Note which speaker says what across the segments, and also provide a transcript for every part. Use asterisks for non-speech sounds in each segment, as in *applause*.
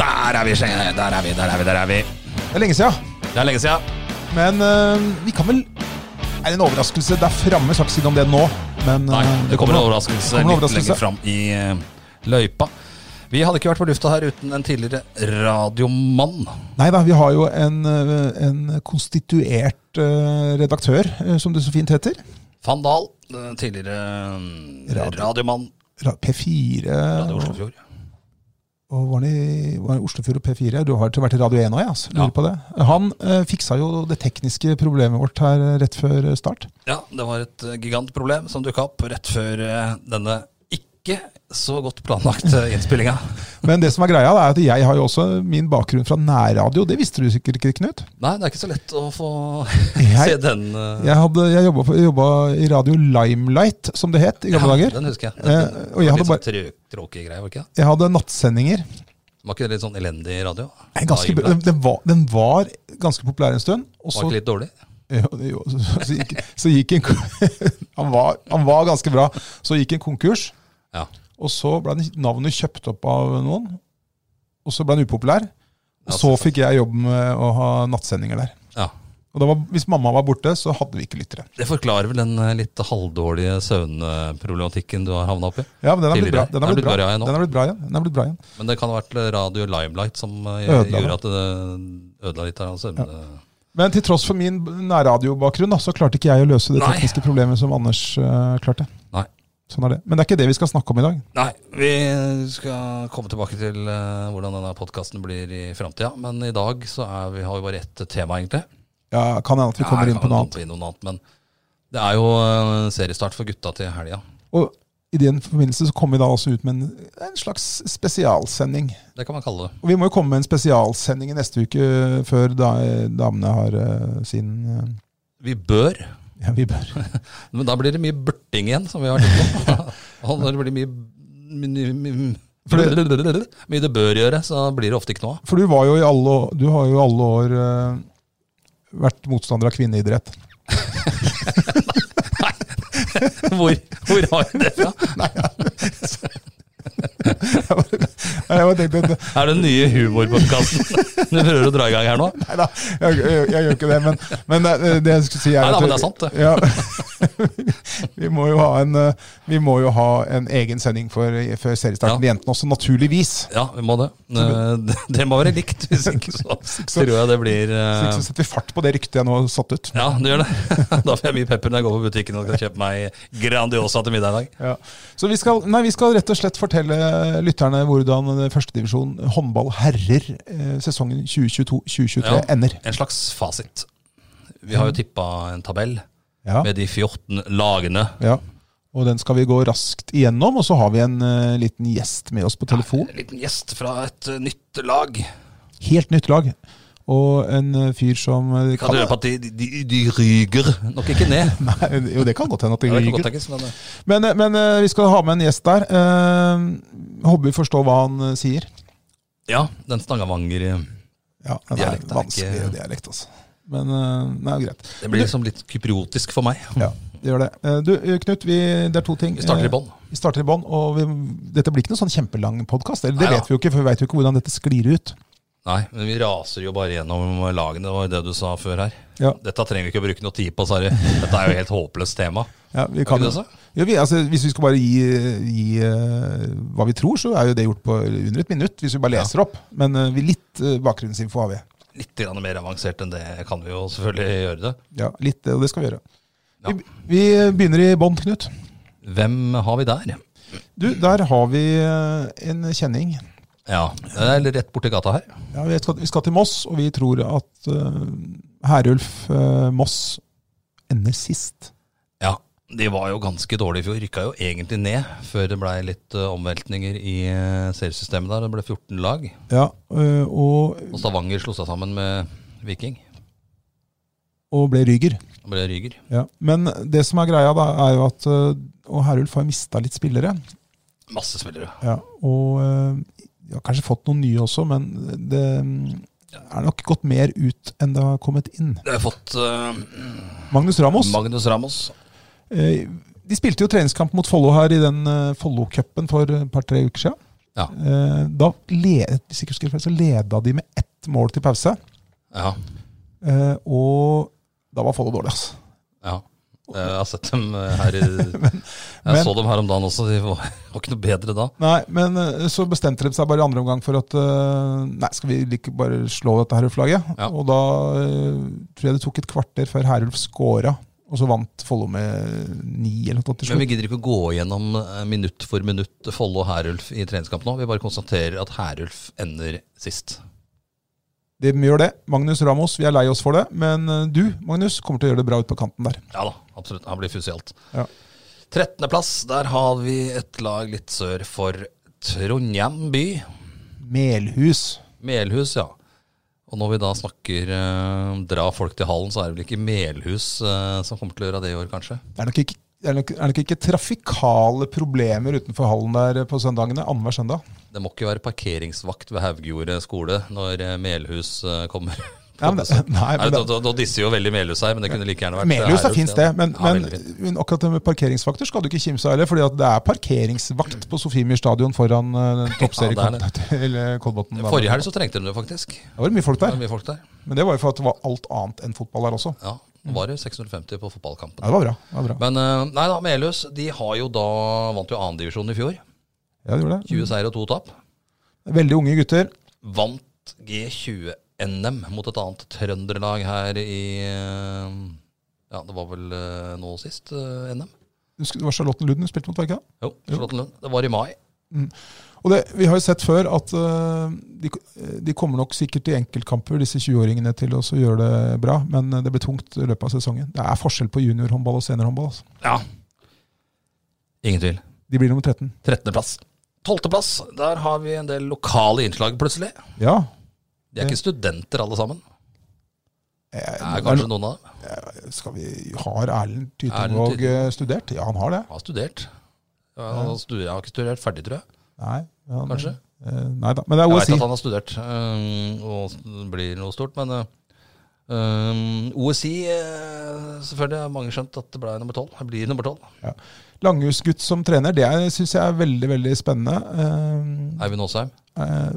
Speaker 1: Der er vi, Skjeng. Der er vi, der er vi. der er vi
Speaker 2: Det er lenge siden.
Speaker 1: Det er lenge siden.
Speaker 2: Men eh, vi kan vel Er det en overraskelse der framme? Skal ikke si noe om det nå. Men
Speaker 1: Nei,
Speaker 2: eh,
Speaker 1: det kommer en overraskelse
Speaker 2: kommer en
Speaker 1: litt
Speaker 2: overraskelse.
Speaker 1: lenger fram i eh, løypa. Vi hadde ikke vært på lufta her uten en tidligere radiomann.
Speaker 2: Nei da, vi har jo en, eh, en konstituert eh, redaktør, eh, som det så fint heter.
Speaker 1: Van Dahl. eh, Tidligere eh,
Speaker 2: Radio.
Speaker 1: radiomann.
Speaker 2: Ra- P4
Speaker 1: Radio
Speaker 2: og,
Speaker 1: Oslofjord.
Speaker 2: og var han i, var han i Oslofjord og P4. Du har til vært i Radio 1 òg, ja. så Lurer
Speaker 1: Ja.
Speaker 2: på det. Han eh, fiksa jo det tekniske problemet vårt her eh, rett før eh, start.
Speaker 1: Ja, det var et eh, gigantproblem som dukka opp rett før eh, denne ikke så godt
Speaker 2: *laughs*
Speaker 1: planlagte innspillinga.
Speaker 2: Men det som er greia, det er at jeg har jo også min bakgrunn fra nærradio. Det visste du sikkert ikke, Knut.
Speaker 1: Nei, det er ikke så lett å få *laughs* se
Speaker 2: Jeg-
Speaker 1: den. eh,
Speaker 2: Jeg, hadde- jeg jobba, på- jobba i radio Limelight, som det het i
Speaker 1: ja,
Speaker 2: gamle dager.
Speaker 1: Den husker jeg.
Speaker 2: Eh,
Speaker 1: Den,
Speaker 2: og jeg hadde
Speaker 1: litt
Speaker 2: bare-
Speaker 1: sånn trø- tråkig greie, var det ikke?
Speaker 2: Jeg hadde nattsendinger.
Speaker 1: det? Var ikke det litt sånn elendig radio?
Speaker 2: Nei, Ganske,
Speaker 1: Da,
Speaker 2: den, den, var, den var ganske populær en stund. Og
Speaker 1: Var
Speaker 2: så,
Speaker 1: ikke litt dårlig?
Speaker 2: *laughs* jo, jo, så, så, gikk, så gikk en kon- *laughs* han, var, han var ganske bra. Så gikk en konkurs,
Speaker 1: Ja.
Speaker 2: og så ble den, navnet kjøpt opp av noen. Og så ble den upopulær. Og så fikk jeg jobben med å ha nattsendinger der.
Speaker 1: ja.
Speaker 2: Og da var, Hvis mamma var borte, så hadde vi ikke lyttere.
Speaker 1: Det forklarer vel den eh, litt halvdårlige søvnproblematikken du har havna oppi.
Speaker 2: Ja, men Den har blitt bra.
Speaker 1: Tidligere.
Speaker 2: Den har blitt bra.
Speaker 1: ja, nå.
Speaker 2: Den har blitt bra igjen. Den har blitt bra igjen.
Speaker 1: Men det kan ha vært eh, Radio Limelight som eh,
Speaker 2: Ødela det.
Speaker 1: gjorde at det ødela litt av søvn...
Speaker 2: Men til tross for min nærradiobakgrunn da, så klarte ikke jeg å løse det
Speaker 1: Nei.
Speaker 2: tekniske problemet som Anders eh, klarte.
Speaker 1: Nei.
Speaker 2: Sånn er det. Men det er ikke det vi skal snakke om i dag.
Speaker 1: Nei, vi skal komme tilbake til eh, hvordan denne podkasten blir i framtida. Men i dag så er vi, har vi bare ett tema, egentlig.
Speaker 2: Ja, Kan hende at vi kommer
Speaker 1: Ja,
Speaker 2: inn på
Speaker 1: kan
Speaker 2: noe
Speaker 1: jo
Speaker 2: annet.
Speaker 1: komme inn på noe annet. Men det er jo eh, seriestart for gutta til helga.
Speaker 2: Og i den forbindelse så kommer vi da også ut med en, en slags spesialsending.
Speaker 1: Det kan man kalle det.
Speaker 2: Og vi må jo komme med en spesialsending i neste uke eh, før da, eh, damene har eh, sin eh,
Speaker 1: Vi bør.
Speaker 2: Ja, vi bør.
Speaker 1: *laughs* Men da blir det mye burting igjen, som vi har tenkt på.
Speaker 2: *laughs*
Speaker 1: Og når det blir mye mye, mye,
Speaker 2: For
Speaker 1: mye det bør gjøre, så blir det ofte ikke
Speaker 2: *laughs*
Speaker 1: noe av.
Speaker 2: For du var jo i alle år Du har jo i alle år eh, vært motstander av kvinneidrett.
Speaker 1: Hvor, hvor har du det fra?
Speaker 2: Jeg bare tenkte at
Speaker 1: Er det den nye
Speaker 2: *laughs*
Speaker 1: humorpodkasten du prøver å dra i gang her nå?
Speaker 2: Nei da, jeg, jeg, jeg gjør ikke det. Men, men det, det jeg skulle si er
Speaker 1: Neida,
Speaker 2: at-
Speaker 1: men det er sant, det.
Speaker 2: Ja. *laughs* vi, må jo ha en, eh, vi må jo ha en egen sending for, eh, før seriestarten til jentene også, naturligvis.
Speaker 1: Ja, vi må det. Eh, Det det må være likt, hvis ikke
Speaker 2: *laughs*
Speaker 1: så tror jeg det blir
Speaker 2: Så,
Speaker 1: eh,
Speaker 2: så setter vi fart på det ryktet jeg nå har satt ut.
Speaker 1: Ja, det gjør det. *laughs* Da får jeg mye pepper når jeg går på butikken og skal kjøpe meg Grandiosa til middag i dag.
Speaker 2: Ja. Så vi skal, nei, vi skal rett og slett fortelle eh, lytterne hvordan førstedivisjon håndball herrer eh, sesongen 2022-2023
Speaker 1: Ja.
Speaker 2: ender.
Speaker 1: En slags fasit. Vi har jo tippa en tabell
Speaker 2: Mm. Ja.
Speaker 1: med de 14 lagene.
Speaker 2: ja. Og den skal vi gå raskt igjennom, og så har vi en eh, liten gjest med oss på telefon.
Speaker 1: En liten gjest fra et eh, nytt lag.
Speaker 2: Helt nytt lag. Og en eh, fyr som eh,
Speaker 1: Kan du høre på at de, de, de, de ryger nok ikke ned?
Speaker 2: Nei, jo, det kan godt hende at det
Speaker 1: Jeg vet ikke
Speaker 2: ryker.
Speaker 1: godt, tenkes, men, eh,
Speaker 2: Men, eh, men eh, vi skal ha med en gjest der. Eh, håper vi forstår hva han eh, sier.
Speaker 1: ja, den Stangavanger eh,
Speaker 2: Ja, den er
Speaker 1: Dialekt er
Speaker 2: vanskelig
Speaker 1: ikke-
Speaker 2: dialekt, altså. Men eh, nei, greit.
Speaker 1: Det blir liksom litt kypriotisk for meg.
Speaker 2: Ja, det gjør det. Eh, Du, eh, Knut, vi, det er to ting.
Speaker 1: Mm. Vi starter
Speaker 2: Eh,
Speaker 1: i bånn.
Speaker 2: Vi starter i bånn, og vi, dette blir ikke noen sånn kjempelang podkast. Det
Speaker 1: Neida.
Speaker 2: vet vi jo ikke, for vi veit jo ikke hvordan dette sklir ut.
Speaker 1: Nei, men vi raser jo bare gjennom lagene, det var jo det du sa før her.
Speaker 2: Ja.
Speaker 1: Dette trenger vi ikke å bruke noe tid på, Sari. Dette er jo et helt håpløst tema.
Speaker 2: Ja, vi kan,
Speaker 1: ikke det så?
Speaker 2: ja, vi, altså, hvis vi skal bare gi, gi eh, hva vi tror, så er jo det gjort på under et minutt. Hvis vi bare leser opp. Men eh, vi- litt eh, bakgrunnsinfo har vi.
Speaker 1: Litt grann mer avansert enn det kan vi jo selvfølgelig gjøre det.
Speaker 2: Ja, litt, eh, og det skal vi gjøre.
Speaker 1: Ja.
Speaker 2: Vi, vi eh, begynner i bånn, Knut.
Speaker 1: Hvem har vi der?
Speaker 2: Du, der har vi eh, en kjenning.
Speaker 1: Ja, det er rett borti gata her.
Speaker 2: Ja, vi, skal, vi skal til Moss, og vi tror at uh, Herulf eh, Moss ender eh, sist.
Speaker 1: Ja, De var jo ganske dårlige i fjor. Rykka jo egentlig ned før det blei litt eh, omveltninger i eh, seriesystemet der. Det ble 14 lag.
Speaker 2: Ja, øh, og,
Speaker 1: Og Stavanger slo seg sammen med Viking.
Speaker 2: og ble Ryger.
Speaker 1: Det ble Ryger.
Speaker 2: Ja. Men det som er greia, da, er jo at øh, Og Herulf har mista litt spillere.
Speaker 1: Masse spillere.
Speaker 2: Ja, og øh, de har kanskje fått noen nye også, men det øh, er nok gått mer ut enn det har kommet inn.
Speaker 1: Vi har fått eh,
Speaker 2: Magnus Ramos.
Speaker 1: Magnus Ramos.
Speaker 2: Eh, De spilte jo treningskamp mot Follo her i den eh, Follo-cupen for et par-tre uker siden.
Speaker 1: Ja.
Speaker 2: Eh, Da le- hvis jeg ikke husker feil, så leda de med ett mål til pause.
Speaker 1: Ja.
Speaker 2: Eh, Og da var Follo dårlig, altså.
Speaker 1: ja. Eh, Jeg har sett dem eh, her i *laughs* Jeg så dem her om dagen også. De var, var ikke noe bedre da.
Speaker 2: Nei, men eh, så bestemte de seg bare i andre omgang for at eh, Nei, skal vi like bare slå dette Herulf-laget?
Speaker 1: Ja.
Speaker 2: Og da eh, tror jeg det tok et kvarter før Herulf scora. Og så vant Follo med ni eller noe
Speaker 1: Men
Speaker 2: til slutt.
Speaker 1: vi gidder ikke å gå gjennom eh, minutt for minutt Follo og Herulf i treningskamp nå. Vi bare konstaterer at Herulf ender sist.
Speaker 2: De gjør det. Magnus Ramos, vi er lei oss for det. Men eh, du, Magnus, kommer til å gjøre det bra ute på kanten der.
Speaker 1: Ja da, absolutt. Han blir fusialt.
Speaker 2: Ja.
Speaker 1: 13.-plass, der har vi et lag litt sør for Trondheim by.
Speaker 2: Melhus.
Speaker 1: Melhus, ja. Og når vi da snakker eh, om dra folk til hallen, så er det vel ikke Melhus eh, som kommer til å gjøre det i år, kanskje?
Speaker 2: Det er nok ikke, det er nok, er nok ikke trafikale problemer utenfor hallen der på søndagene. Annenhver søndag.
Speaker 1: Det må ikke være parkeringsvakt ved Haugjordet skole når eh, Melhus eh, kommer.
Speaker 2: *laughs* Ja, men det- nei, men
Speaker 1: Nei,
Speaker 2: det-
Speaker 1: da, da, da disser jo veldig Melhus her, men det kunne like gjerne vært
Speaker 2: Melhus er
Speaker 1: Herulf,
Speaker 2: fint
Speaker 1: ja.
Speaker 2: sted, men,
Speaker 1: Ja, veldig fint.
Speaker 2: men, men akkurat det med parkeringsvakter skal du ikke kimse av heller. fordi at det er parkeringsvakt på Sofiemyr stadion foran uh,
Speaker 1: Ja,
Speaker 2: toppseriekampen *laughs* til eh, Kolbotn. da.
Speaker 1: Forrige helg så trengte de det faktisk. Det
Speaker 2: Det var mye folk
Speaker 1: var
Speaker 2: der,
Speaker 1: mye folk der.
Speaker 2: men det var jo for at det var alt annet enn fotball der også.
Speaker 1: Ja, var
Speaker 2: Mm.
Speaker 1: det 650 på fotballkampen.
Speaker 2: Ja, det var bra. det var bra.
Speaker 1: Men eh, nei da, Melhus de har jo da vant jo andredivisjon i fjor.
Speaker 2: Ja, det gjorde det.
Speaker 1: 20 seier og to tap.
Speaker 2: Veldig unge gutter.
Speaker 1: Vant G20-NM mot et annet trønderlag her i eh, Ja, det var vel eh, nå sist eh, NM?
Speaker 2: Du husker- Det var Charlotten Lund hun spilte mot, var det ikke det?
Speaker 1: Jo, Charlottenlund. Det var i mai.
Speaker 2: Og det, Vi har jo sett før at øh, de, de kommer nok sikkert i enkeltkamper, disse 20-åringene, til også å gjøre det bra. Men eh, det blir tungt i løpet av sesongen. Det er forskjell på juniorhåndball og seniorhåndball. Altså.
Speaker 1: Ja. Ingen tvil.
Speaker 2: De blir nummer 13.
Speaker 1: 13.-plass. 12.-plass, der har vi en del lokale innslag, plutselig.
Speaker 2: Ja.
Speaker 1: De er ikke studenter, alle sammen.
Speaker 2: Eh,
Speaker 1: Det er kanskje noen av dem.
Speaker 2: skal vi, har Erlend
Speaker 1: Erlend
Speaker 2: Tytungvåg
Speaker 1: Tytungvåg.
Speaker 2: eh, studert? Ja, han har det.
Speaker 1: Har studert. Ja, han har stu- Jeg har ikke studert ferdig, tror jeg.
Speaker 2: Nei, han,
Speaker 1: Kanskje.
Speaker 2: Eh, nei da. Men det er
Speaker 1: Jeg
Speaker 2: OSI.
Speaker 1: vet at han har studert øhm, og det blir noe stort, men eh, øh, øhm, OSI øh, Selvfølgelig har mange skjønt at det ble nummer tolv. Det blir nummer tolv.
Speaker 2: Ja. Langhusgutt som trener, det syns jeg er veldig veldig spennende. Eh,
Speaker 1: Eivind Aasheim.
Speaker 2: Eh,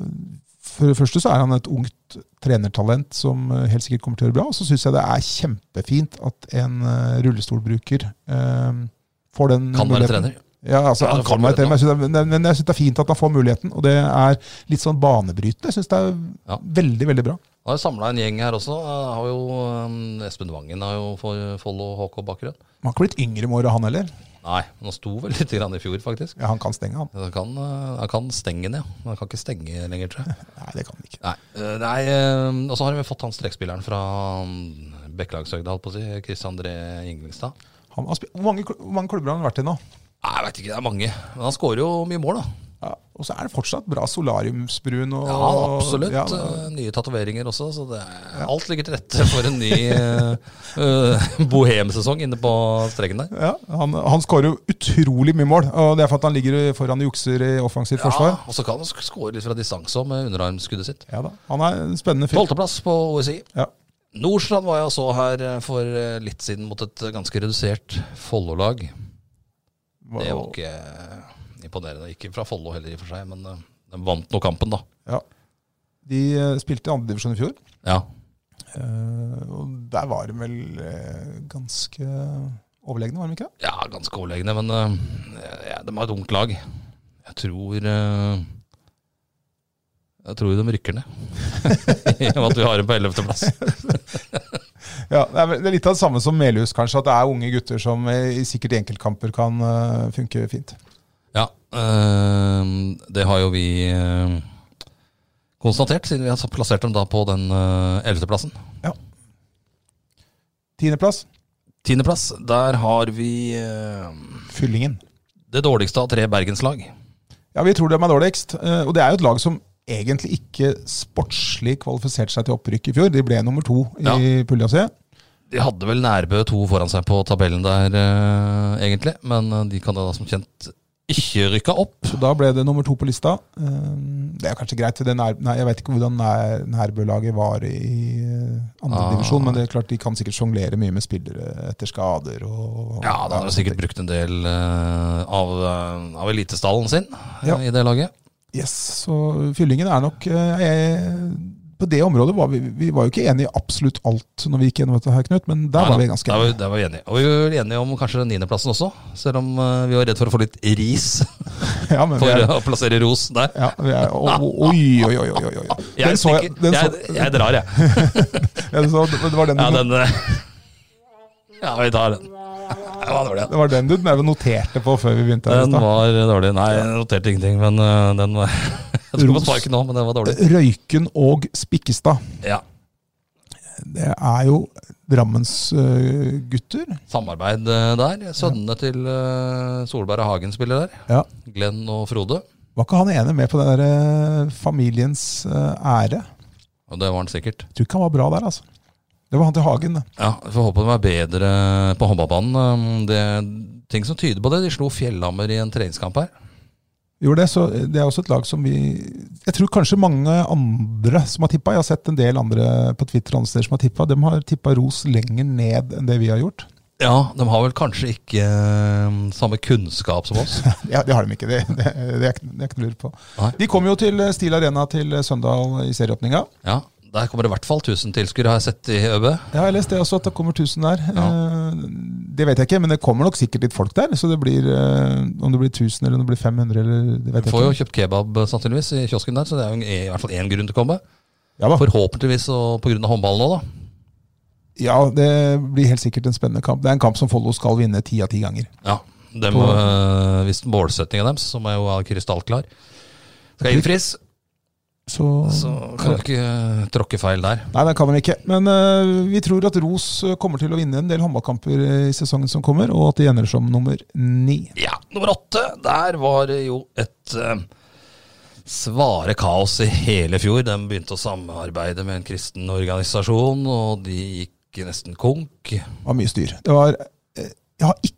Speaker 2: For det første så er han et ungt trenertalent som eh, helt sikkert kommer til å gjøre bra. Og så syns jeg det er kjempefint at en eh, rullestolbruker eh, får den
Speaker 1: Kan være trener.
Speaker 2: Ja, altså,
Speaker 1: Ja,
Speaker 2: han
Speaker 1: han får
Speaker 2: kan være
Speaker 1: muligheten,
Speaker 2: trener, men jeg synes det er- men- men jeg syns det er fint at han får muligheten. Og det er litt sånn banebrytende. Jeg syns det er
Speaker 1: Ja.
Speaker 2: veldig, veldig bra.
Speaker 1: Han har samla en gjeng her også. Han Har jo, øhm, Espen Vangen har jo for- Follo HK-bakgrunn.
Speaker 2: Han har ikke blitt yngre med året, han heller.
Speaker 1: Nei, men han sto vel litt grann i fjor, faktisk.
Speaker 2: Ja, han kan stenge, han.
Speaker 1: Han kan, øh, han kan stenge ned. men Han kan ikke stenge lenger, tror jeg.
Speaker 2: Nei, det kan han ikke.
Speaker 1: Nei, øh, nei øhm, Og så har vi fått han strekspilleren fra øhm, Bekkelagshøgda, holdt på å si. Chris André Inglingstad.
Speaker 2: Han har spilt, hvor, mange, kl- hvor mange klubber har han vært i nå?
Speaker 1: Nei, Jeg veit ikke, det er mange. Men han skårer jo mye mål, da.
Speaker 2: Ja, og så er det fortsatt bra solariumsbrun. Og,
Speaker 1: Ja, absolutt.
Speaker 2: Ja,
Speaker 1: Eh, Nye tatoveringer også. Så det, alt ligger til rette for en ny eh, eh, *laughs* bohemsesong inne på streken der.
Speaker 2: Ja, han, han skårer jo utrolig mye mål, og det er for at han ligger foran og jukser i offensivt forsvar.
Speaker 1: Ja, og så kan han sk- skåre litt fra distanse også med underarmskuddet sitt.
Speaker 2: Ja da. Han er en spennende fyr.
Speaker 1: Tolvteplass på OSI.
Speaker 2: Ja.
Speaker 1: Nordstrand var jeg og så her eh, for eh, litt siden mot et ganske redusert Follo-lag. Det var ikke eh, imponerende. Ikke fra Follo heller, i og for seg, men eh, de vant nå kampen, da.
Speaker 2: Ja. De eh, spilte i andredivisjon i fjor,
Speaker 1: Ja.
Speaker 2: eh, og der var de vel eh, ganske overlegne, var de ikke?
Speaker 1: Ja, ganske overlegne, men øh, ja, de har et ungt lag. Jeg tror øh, Jeg tror de rykker ned. *laughs* I og med at vi har dem på 11. plass.
Speaker 2: Ja, det er, vel- det er litt av det samme som Melhus, kanskje, at det er unge gutter som eh, i sikkert i enkeltkamper kan eh, funke fint.
Speaker 1: Ja, øh, det har jo vi øh, konstatert, siden vi har eh, plassert dem da på den øh, 11. plassen.
Speaker 2: Tiendeplass,
Speaker 1: Tiendeplass, der har vi eh,
Speaker 2: Fyllingen.
Speaker 1: det dårligste av tre bergenslag.
Speaker 2: Ja, vi tror de er dårligst. eh, Og det er jo et lag som egentlig ikke sportslig kvalifiserte seg til opprykk i fjor. De ble nummer to i
Speaker 1: Ja.
Speaker 2: pulja si.
Speaker 1: De hadde vel Nærbø to foran seg på tabellen der, eh, egentlig. Men eh, de kan da som kjent ikke rykke opp.
Speaker 2: Så da ble det nummer to på lista. Eh, Det er kanskje greit. Det er nær, nei, jeg vet ikke hvordan nær, Nærbø-laget var i eh, andre
Speaker 1: Ah.
Speaker 2: divisjon, men det er klart de kan sikkert sjonglere mye med spillere etter skader og
Speaker 1: Ja, da har de sikkert brukt en del eh, av, eh, av elitestallen sin eh,
Speaker 2: Ja.
Speaker 1: i det laget.
Speaker 2: Yes, så fyllingen er nok eh, jeg, På det området var vi, vi var jo ikke enige i absolutt alt når vi gikk gjennom dette her, Knut, men der
Speaker 1: Nei,
Speaker 2: var
Speaker 1: da,
Speaker 2: vi ganske
Speaker 1: der var,
Speaker 2: enige.
Speaker 1: vi- der var vi enige. Og vi var vel enige om kanskje niendeplassen også, selv om eh, vi var redd for å få litt ris *laughs*
Speaker 2: *laughs* Ja, men
Speaker 1: for
Speaker 2: vi er,
Speaker 1: å plassere ros der.
Speaker 2: ja, vi er, å, å, oi, oi, oi, oi, oi, oi.
Speaker 1: Jeg
Speaker 2: Den så jeg.
Speaker 1: stikker.
Speaker 2: Den så,
Speaker 1: jeg, jeg drar, jeg.
Speaker 2: den så, det var den
Speaker 1: Ja,
Speaker 2: du,
Speaker 1: den eh, *laughs* Ja, vi tar den. Det var dårlig.
Speaker 2: det var den du den er vi noterte på før vi begynte. her i
Speaker 1: Den
Speaker 2: stad.
Speaker 1: var dårlig. Nei, jeg noterte ingenting, men øh, den var *laughs* Jeg skulle få
Speaker 2: Ros.
Speaker 1: sparken nå, men den var dårlig.
Speaker 2: Røyken og Spikkestad.
Speaker 1: Ja.
Speaker 2: Det er jo Drammens øh, gutter.
Speaker 1: Samarbeid øh, der. Sønnene til øh, Solberg og Hagen spiller der.
Speaker 2: Ja.
Speaker 1: Glenn og Frode.
Speaker 2: Var ikke han ene med på den der øh, familiens øh, ære?
Speaker 1: Og det var han sikkert.
Speaker 2: Jeg tror ikke han var bra der, altså. Det var han til Hagen, det.
Speaker 1: Ja, vi Får håpe de er bedre på håndballbanen. Øhm, Det er ting som tyder på det. De slo Fjellhammer i en treningskamp her.
Speaker 2: Gjorde det, så det er også et lag som vi Jeg tror kanskje mange andre som har tippa. Jeg har sett en del andre på Twitter og andre steder som har tippa. De har tippa Ros lenger ned enn det vi har gjort.
Speaker 1: Ja, de har vel kanskje ikke øhm, samme kunnskap som
Speaker 2: *laughs*
Speaker 1: oss.
Speaker 2: Ja, Det har de ikke, det, det, det er ikke det er ikke noe å lure på.
Speaker 1: Nei.
Speaker 2: De kom jo til Stil Arena til Søndal i serieåpninga.
Speaker 1: Ja, Der kommer det i hvert fall 1000 tilskuere, har jeg sett i ØB.
Speaker 2: Ja, jeg leste det også, at det kommer 1000 der. Eh, Det vet jeg ikke, men det kommer nok sikkert litt folk der. Så det blir, eh, om det blir 1000 eller om det blir 500, eller det vet
Speaker 1: Du
Speaker 2: jeg
Speaker 1: får jo
Speaker 2: ikke.
Speaker 1: kjøpt kebab eh, sannsynligvis i kiosken der, så det er jo en- i hvert fall én grunn til å komme.
Speaker 2: Ja, da.
Speaker 1: Forhåpentligvis og på grunn av håndballen òg, da.
Speaker 2: ja, det blir helt sikkert en spennende kamp. Det er en kamp som Follo skal vinne ti av ti ganger.
Speaker 1: Ja, dem,
Speaker 2: På-
Speaker 1: øh, Hvis målsettinga deres, som er jo er krystallklar, skal innfris,
Speaker 2: Så,
Speaker 1: så kan du ikke øh, tråkke feil der.
Speaker 2: Nei, det kan de ikke. Men eh, vi tror at Ros eh, kommer til å vinne en del håndballkamper eh, i sesongen som kommer, og at de ender som nummer ni.
Speaker 1: Ja, nummer åtte. Der var det jo et øh, svare kaos i hele fjor. De begynte å samarbeide med en kristen organisasjon, og de gikk nesten konk.
Speaker 2: Det var mye styr. Det var eh, Jeg har ikke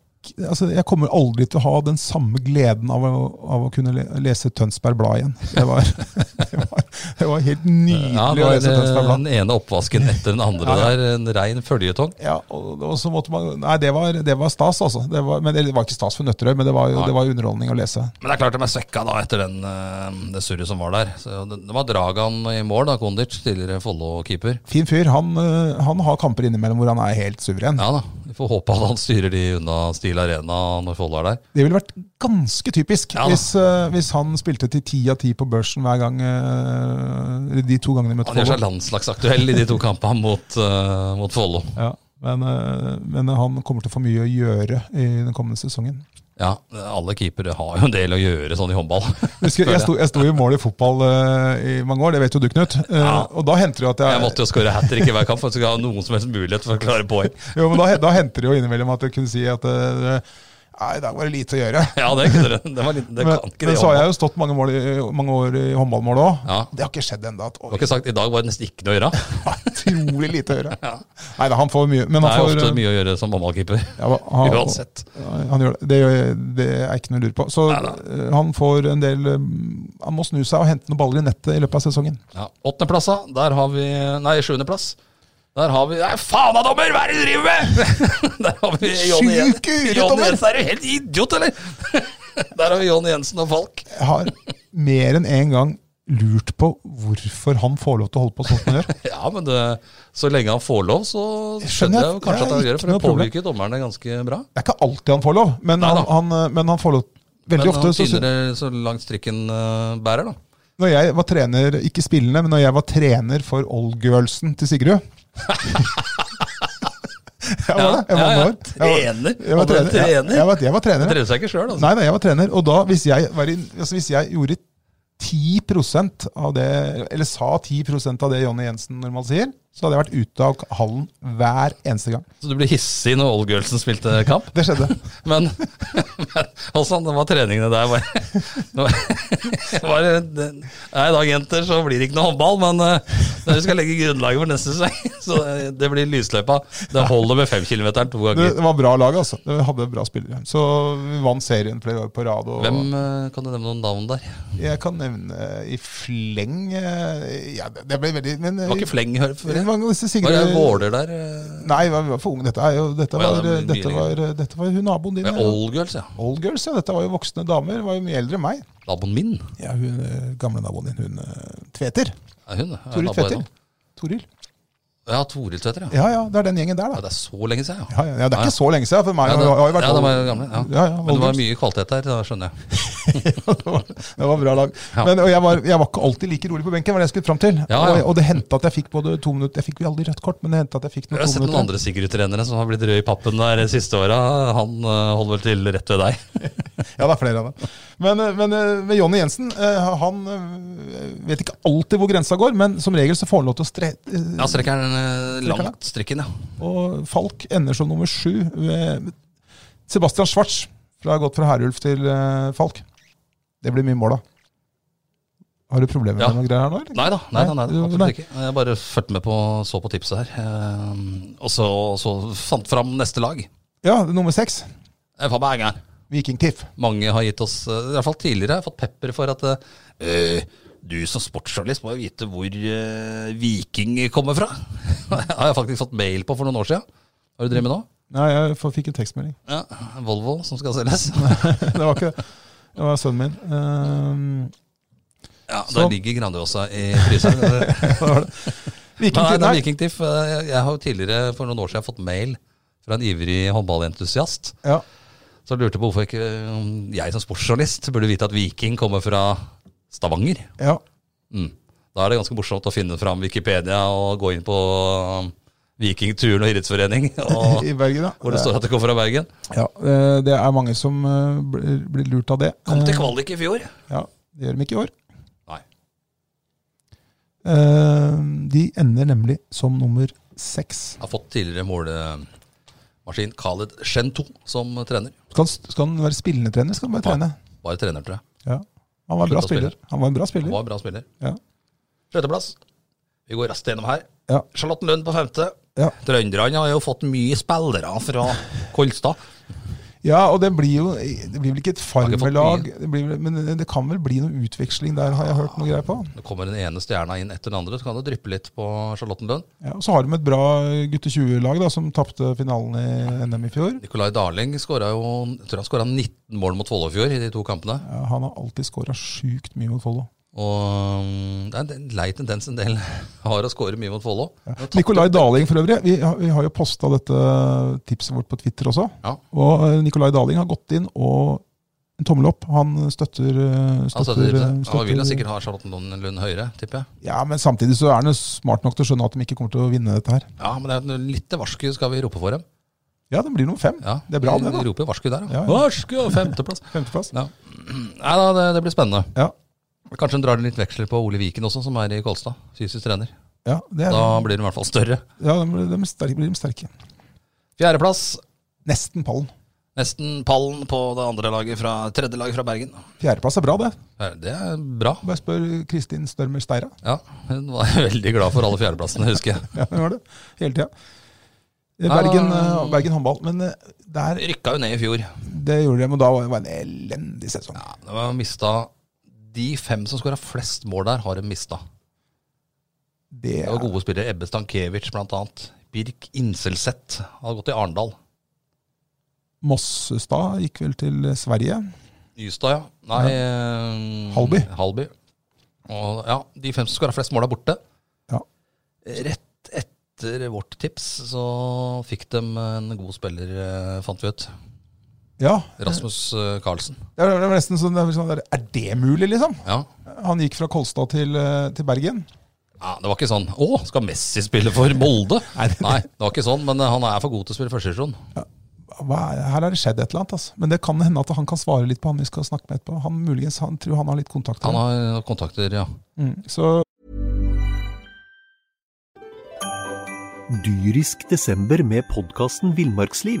Speaker 2: Altså, jeg kommer aldri til å ha den samme gleden av å, av å kunne le- lese Tønsberg Blad igjen. Det var, *laughs* det var, det var helt nydelig
Speaker 1: Ja, det
Speaker 2: å
Speaker 1: var
Speaker 2: lese Tønsberg
Speaker 1: øh,
Speaker 2: Blad.
Speaker 1: den ene oppvasken etter den andre
Speaker 2: Ja, ja.
Speaker 1: der. En rein føljetong.
Speaker 2: Ja, og, og så måtte man Nei, det var, det var stas, altså. Det var, men det var ikke stas for Nøtterøy, men det var jo
Speaker 1: Nei.
Speaker 2: det var jo underholdning å lese.
Speaker 1: Men det er klart de er svekka da etter den, eh, det surret som var der. Så det, det var Dragan i mål, da, Kondic, tidligere Follo-keeper.
Speaker 2: Fin fyr. Han, eh, han har kamper innimellom hvor han er helt suveren.
Speaker 1: Ja da, Vi får håpe at han styrer de unna Stil Arena når Follo er der.
Speaker 2: Det ville vært ganske typisk
Speaker 1: Ja da.
Speaker 2: hvis, eh, hvis han spilte til ti av ti på børsen hver gang eh, eller de to gangene de møtte
Speaker 1: Han gjør seg
Speaker 2: Follo.
Speaker 1: landslagsaktuell i de to kampene mot, eh, mot Follo.
Speaker 2: Ja, men, eh, men han kommer til å få mye å gjøre i den kommende sesongen.
Speaker 1: Ja, alle keepere har jo en del å gjøre sånn i håndball. *laughs*
Speaker 2: Husker, jeg, sto, jeg sto i mål i fotball eh, i mange år, det vet jo du, Knut. Eh,
Speaker 1: Ja.
Speaker 2: Og da henter det jo at jeg,
Speaker 1: Jeg måtte jo skåre hat trick i hver kamp for at jeg skulle ha noen som helst mulighet for å klare poeng. *laughs*
Speaker 2: jo, men da, hen- da henter det jo innimellom at jeg kunne si at eh, Nei, i dag var det lite å gjøre.
Speaker 1: Ja, det, kunne dere- det, var litt, det
Speaker 2: Men,
Speaker 1: kan ikke
Speaker 2: men
Speaker 1: det.
Speaker 2: så
Speaker 1: håndball.
Speaker 2: har jeg jo stått mange, mål i, mange år i håndballmål òg.
Speaker 1: Ja.
Speaker 2: Det har ikke skjedd ennå.
Speaker 1: Du har ikke sagt i dag var det nesten ikke noe å gjøre.
Speaker 2: *laughs* Utrolig lite å gjøre. Nei da, han får mye. Men
Speaker 1: Det er
Speaker 2: han
Speaker 1: jo
Speaker 2: får, eh,
Speaker 1: ofte mye å gjøre som håndballkeeper.
Speaker 2: Ja, hva- han,
Speaker 1: Uansett.
Speaker 2: Han gjør det. Det, gjør, det er ikke noe å lure på. Så
Speaker 1: Neida.
Speaker 2: eh, han får en del eh, Han må snu seg og hente noen baller i nettet i løpet av sesongen.
Speaker 1: Ja, Åttendeplasser, der har vi Nei, sjuendeplass. Der har vi Nei, faen da, dommer! Hva er det du driver med?! *laughs* Der har vi Jonny
Speaker 2: Sjuk ure,
Speaker 1: Jensen. Jonny
Speaker 2: dommer!
Speaker 1: Jensen, er du helt idiot, eller?! *laughs* Der har vi Jonny Jensen og Falk.
Speaker 2: Jeg
Speaker 1: *laughs*
Speaker 2: har mer enn én gang lurt på hvorfor han får lov til å holde på sånn som han gjør.
Speaker 1: Ja, men det, så lenge han får lov, så skjønner jeg jo kanskje at han gjør det, for
Speaker 2: ikke
Speaker 1: det
Speaker 2: noe problem.
Speaker 1: påvirker dommerne ganske bra.
Speaker 2: Det er ikke alltid han får lov, men, han,
Speaker 1: Neida.
Speaker 2: han, eh, men han får lov
Speaker 1: Men
Speaker 2: veldig ofte.
Speaker 1: han
Speaker 2: Så, sy-
Speaker 1: tyner så langt strikken eh, bærer, da.
Speaker 2: når jeg var trener, ikke spillende, men når jeg var trener for oldgirlsen til
Speaker 1: *laughs*
Speaker 2: Sigrud Jeg var det. Jeg
Speaker 1: ja,
Speaker 2: var
Speaker 1: ja.
Speaker 2: noen år. Jeg var-
Speaker 1: Trener?
Speaker 2: Jeg var
Speaker 1: Han var
Speaker 2: trener. Jeg,
Speaker 1: trener?
Speaker 2: jeg, var, jeg var trener.
Speaker 1: Trener seg ikke sjøl, altså.
Speaker 2: Nei, nei, jeg var trener. Og da, hvis jeg, var i, altså, hvis jeg gjorde 10 av det, eller sa 10 av det Jonny Jensen normalt sier, så hadde jeg vært ute av hallen hver eneste gang.
Speaker 1: Så du ble hissig når Olgølsen spilte kamp?
Speaker 2: Det skjedde.
Speaker 1: *laughs* Men, men altså, det var treningene der var, *laughs* nå- var det- det- Nei, i dag, jenter, så blir det ikke noe håndball, men eh, dere skal legge grunnlaget for neste sesong. *laughs* Så det- det blir lysløypa. Det holder med femkilometeren to
Speaker 2: Det,
Speaker 1: ganger.
Speaker 2: det var bra lag, altså. Det hadde bra spillere. Så vi vant serien flere år på rad. Og
Speaker 1: Hvem eh, kan du nevne noen navn der? Det
Speaker 2: Jeg kan nevne i fleng eh, ja, Det det ble veldig Men eh,
Speaker 1: var ikke Fleng, hører jeg.
Speaker 2: mange av disse
Speaker 1: Var
Speaker 2: Sigrid
Speaker 1: det Våler der? eh?
Speaker 2: Nei, vi var for unge. Dette, er jo, dette,
Speaker 1: Å, ja,
Speaker 2: var,
Speaker 1: det er mye
Speaker 2: dette,
Speaker 1: lenger.
Speaker 2: var, dette var hun naboen din.
Speaker 1: Med
Speaker 2: ja.
Speaker 1: Olgøls, ja.
Speaker 2: Old girls, ja. Dette var jo voksne damer. Var jo mye eldre enn meg.
Speaker 1: Naboen min
Speaker 2: Ja, hun eh, gamle naboen din, hun eh, Tveter.
Speaker 1: er hun. er
Speaker 2: Toril
Speaker 1: nabo
Speaker 2: Tveter.
Speaker 1: ennå.
Speaker 2: Toril.
Speaker 1: Ja, Toril Tveter, ja.
Speaker 2: Ja ja, det er den gjengen der,
Speaker 1: ja.
Speaker 2: da.
Speaker 1: Det er så lenge siden,
Speaker 2: Ja, ja, ja, det er ikke så lenge siden. For meg
Speaker 1: Ja,
Speaker 2: jeg
Speaker 1: det,
Speaker 2: har jo vært
Speaker 1: ja, de
Speaker 2: old-
Speaker 1: er jo gamle. Ja.
Speaker 2: Ja, ja,
Speaker 1: Men det var
Speaker 2: old-
Speaker 1: mye kvalitet der, da skjønner jeg.
Speaker 2: *laughs* det var- det var bra lag.
Speaker 1: Ja.
Speaker 2: Men, og jeg var, jeg var ikke alltid like rolig på benken, var det jeg skulle fram til.
Speaker 1: Ja, ja.
Speaker 2: Og, og det hendte at jeg fikk både to minutter Jeg fikk vel aldri rødt kort, men det hendte at jeg fikk
Speaker 1: Jeg
Speaker 2: noen
Speaker 1: har
Speaker 2: to
Speaker 1: sett noen
Speaker 2: minutter.
Speaker 1: andre Sigurd-trenere som har blitt røde i pappen der de siste åra. Han eh, holder vel til rett ved deg.
Speaker 2: Ja, det er flere av dem. Men, eh, men eh, med Jonny Jensen, eh, han eh, vet ikke alltid hvor grensa går, men som regel så får han lov til å stre... eh,
Speaker 1: Ja, strekker den eh,
Speaker 2: Strekker den?
Speaker 1: langt, strikken, ja.
Speaker 2: Og Falk ender som nummer sju. ved- Sebastian Schwartz fra gått fra Herulf til eh, Falk. Det blir mye mål, da. Har du problemer med
Speaker 1: Ja.
Speaker 2: noen greier her nå? eller?
Speaker 1: Nei da, nei, nei, nei,
Speaker 2: Nei,
Speaker 1: absolutt
Speaker 2: nei.
Speaker 1: ikke. Jeg bare fulgte med på så på tipset her. eh, Og så, så fant fram neste lag.
Speaker 2: Ja, nummer seks.
Speaker 1: Eh, faen meg er gæren.
Speaker 2: Viking Tiff.
Speaker 1: Mange har gitt oss, eh, i hvert fall tidligere, har jeg fått pepper for at eh, du som sportsjournalist må jo vite hvor eh, Viking kommer fra. *laughs* Det har jeg faktisk fått mail på for noen år siden. Hva har du drevet med nå?
Speaker 2: Nei, jeg f- fikk en tekstmelding. *laughs*
Speaker 1: Ja, Volvo som skal selges.
Speaker 2: Det var ikke det. Det var sønnen min. Ehm, *laughs*
Speaker 1: Ja,
Speaker 2: Så-
Speaker 1: Der ligger Grandiosa i fryseren.
Speaker 2: det var det. Viking
Speaker 1: Nei,
Speaker 2: Tiff,
Speaker 1: nei,
Speaker 2: nei.
Speaker 1: Viking Tiff. eh, Jeg jeg har jo tidligere for noen år siden fått mail fra en ivrig håndballentusiast
Speaker 2: Ja.
Speaker 1: som lurte på hvorfor ikke eh, jeg som sportsjournalist burde vite at Viking kommer fra Stavanger.
Speaker 2: ja.
Speaker 1: Mm. Da er det ganske morsomt å finne fram Wikipedia og gå inn på eh, Viking turn- og idrettsforening, *laughs* og,
Speaker 2: *laughs* I Bergen, ja.
Speaker 1: hvor det står at det kommer fra Bergen.
Speaker 2: ja. eh, Det er mange som eh, blir blir lurt av det.
Speaker 1: Kom til
Speaker 2: Eh,
Speaker 1: kvalik i fjor.
Speaker 2: Ja, Det gjør de ikke i år.
Speaker 1: Nei.
Speaker 2: Eh, De ender nemlig som nummer seks.
Speaker 1: Har fått tidligere målemaskin Khaled Shentou som trener.
Speaker 2: Skal, han- skal han være spillende trener? Skal han bare trene?
Speaker 1: Bare trener, tror jeg.
Speaker 2: Ja. Han var en
Speaker 1: Slutta
Speaker 2: bra
Speaker 1: å spille.
Speaker 2: spiller. Han var en bra
Speaker 1: Han
Speaker 2: spiller.
Speaker 1: var en bra spiller.
Speaker 2: Ja.
Speaker 1: Sjetteplass. Vi går raskt gjennom her.
Speaker 2: Ja.
Speaker 1: Charlotten Lund på femte.
Speaker 2: Ja.
Speaker 1: Trønderne har jo fått mye spillere fra Kolstad.
Speaker 2: ja, og det blir jo Det blir vel ikke et
Speaker 1: ikke fått
Speaker 2: farvelag, det blir vel- men det kan vel bli noe utveksling der, har jeg hørt noe greier på.
Speaker 1: Nå kommer den ene stjerna inn etter den andre, så kan det dryppe litt på Charlotten Lund.
Speaker 2: Ja, og så har de et bra gutte 20-lag da, som tapte finalen i NM i fjor.
Speaker 1: Nicolai Darling skåra jo jeg tror han skåra 19 mål mot Follo i fjor i de to kampene.
Speaker 2: Ja, han har alltid skåra sjukt mye mot Follo.
Speaker 1: Og mm, det er en lei tendens en del *laughs* har å skåre mye mot Follo.
Speaker 2: Ja. Nikolai Daling for øvrig. Vi har, vi har jo posta dette tipset vårt på Twitter også.
Speaker 1: Ja.
Speaker 2: Og eh, Nicolai Daling har gått inn og en tommel opp. Han støtter, eh,
Speaker 1: Han
Speaker 2: støtter,
Speaker 1: støtter,
Speaker 2: eh,
Speaker 1: han vil jo
Speaker 2: støtter-
Speaker 1: sikkert ha Charlotten Lund høyere, tipper jeg.
Speaker 2: Ja, men samtidig så er han jo smart nok til å skjønne at de ikke kommer til å vinne dette her.
Speaker 1: Ja, men det er et lite varsku skal vi rope for dem.
Speaker 2: Ja, det blir nummer fem.
Speaker 1: Ja,
Speaker 2: Det er bra, det.
Speaker 1: Vi
Speaker 2: da.
Speaker 1: roper varsku der,
Speaker 2: Ja, ja.
Speaker 1: Varsku og femteplass.
Speaker 2: Femteplass.
Speaker 1: Ja. Nei da, det, det blir spennende.
Speaker 2: Ja.
Speaker 1: Kanskje hun drar litt veksler på Ole Viken også, som er i Kolstad. Fysisk trener.
Speaker 2: Ja, det er,
Speaker 1: Da blir hun i hvert fall større.
Speaker 2: ja de, blir- de, er sterke, blir de sterke.
Speaker 1: Fjerdeplass.
Speaker 2: Nesten pallen.
Speaker 1: Nesten pallen på det andre laget fra tredje lag fra Bergen.
Speaker 2: Fjerdeplass er bra, det.
Speaker 1: Ja, Det er bra.
Speaker 2: Bare spør Kristin Størmer Steira.
Speaker 1: Ja, hun var *laughs* veldig glad for alle fjerdeplassene, husker jeg.
Speaker 2: Ja, hun var det. Hele tida. Eh,
Speaker 1: Nei,
Speaker 2: Bergen,
Speaker 1: da-
Speaker 2: eh, Bergen håndball. Men eh, der,
Speaker 1: *laughs* Rykka jo ned i fjor.
Speaker 2: det gjorde de, men da var det en elendig sesong.
Speaker 1: Ja, det var mista De fem som skåra flest mål der, har de mista.
Speaker 2: Det
Speaker 1: Det var gode spillere. Ebbe Stankiewicz, blant annet. Birk Inselseth hadde gått til Arendal.
Speaker 2: Mossestad gikk vel til Sverige.
Speaker 1: Nystad, ja. Nei eh,
Speaker 2: Halby.
Speaker 1: Halby. Og ja, de fem som skåra flest mål, er borte.
Speaker 2: Ja.
Speaker 1: Rett etter vårt tips så fikk de en god spiller, eh, fant vi ut.
Speaker 2: Ja,
Speaker 1: Rasmus eh, Carlsen.
Speaker 2: det var det var nesten sånn, det var sånn der, Er det mulig, liksom?
Speaker 1: Ja.
Speaker 2: Han gikk fra Kolstad til, eh, til Bergen.
Speaker 1: ja. Det var ikke sånn Å, skal Messi spille for Molde?
Speaker 2: Nei, det-
Speaker 1: Nei, det var ikke sånn, men eh, han er for god til å spille førstevisjon.
Speaker 2: hva er, her har det skjedd et eller annet. Altså. Men det kan hende at han kan svare litt på han vi skal snakke med etterpå. Han muligens han tror han har eh, litt kontakt.
Speaker 1: Han har kontakter, ja.
Speaker 2: Mm. Så
Speaker 3: dyrisk desember med podkasten Villmarksliv.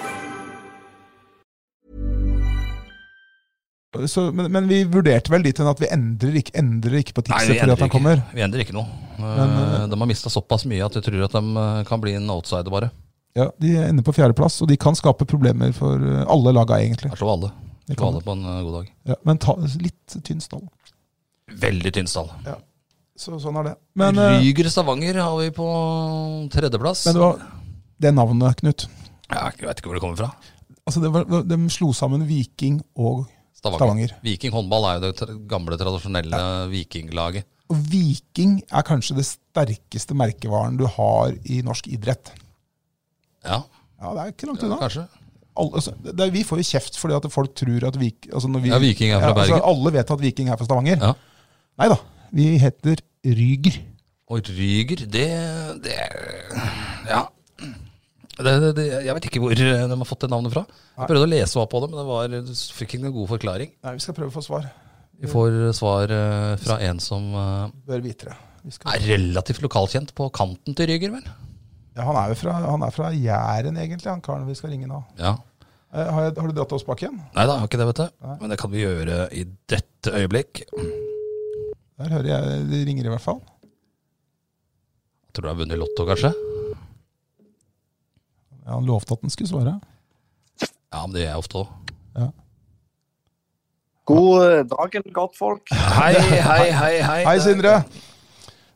Speaker 2: Så, men, men vi vurderte vel dit hen at vi endrer ikke, endrer ikke på tipset fordi at han kommer.
Speaker 1: ikke. vi endrer ikke noe.
Speaker 2: Men,
Speaker 1: Eh, de har mista såpass mye at jeg tror at de eh, kan bli en outsider, bare.
Speaker 2: Ja, De ender på fjerdeplass, og de kan skape problemer for eh, alle laga, egentlig.
Speaker 1: Det er så alle.
Speaker 2: Det kan
Speaker 1: Alle på en eh, god dag.
Speaker 2: Ja, men ta litt tynn stall.
Speaker 1: Veldig tynn stall.
Speaker 2: Så sånn er det. Men, eh,
Speaker 1: Ryger Stavanger har vi på tredjeplass.
Speaker 2: men det, var, det navnet, Knut
Speaker 1: Ja, Jeg vet ikke hvor det kommer fra.
Speaker 2: altså, det var, De slo sammen Viking og
Speaker 1: Stavanger.
Speaker 2: Stavanger.
Speaker 1: Viking håndball er jo det tra- gamle, tradisjonelle vikinglaget.
Speaker 2: Og Viking er kanskje det sterkeste merkevaren du har i norsk idrett.
Speaker 1: Ja,
Speaker 2: Ja, Det er ikke langt unna.
Speaker 1: kanskje.
Speaker 2: Alle, altså, det, er- vi får jo kjeft fordi at folk tror at Vik, altså når vi,
Speaker 1: Ja, Viking er fra
Speaker 2: Ja, altså,
Speaker 1: Bergen.
Speaker 2: Alle vet at Viking er fra Stavanger.
Speaker 1: Ja.
Speaker 2: Nei da, vi heter Ryger.
Speaker 1: Og Ryger, det, det Ja. Det, det, det, jeg vet ikke hvor eh, de har fått det navnet fra. Jeg prøvde å lese hva på det, men det var, du fikk ikke noen god forklaring.
Speaker 2: Nei, vi skal prøve å få svar.
Speaker 1: Vi får svar eh, fra en som eh,
Speaker 2: Bør vite det. Vi skal.
Speaker 1: er relativt lokalkjent på kanten til Ryger, vel?
Speaker 2: Ja, han er jo fra, han er fra Jæren, egentlig, han karen vi skal ringe nå.
Speaker 1: Ja.
Speaker 2: Eh, Har, jeg, har du dratt oss bak igjen?
Speaker 1: Nei da, har ikke det, vet du. Men det kan vi gjøre i dette øyeblikk.
Speaker 2: Der hører jeg de ringer, i hvert fall.
Speaker 1: Tror du har vunnet Lotto, kanskje?
Speaker 2: Ja, han lovte at han skulle svare.
Speaker 1: Ja, men det gjør jeg ofte òg.
Speaker 4: God eh, dagen, godtfolk.
Speaker 1: Hei, hei, hei, hei.
Speaker 2: Hei, Sindre!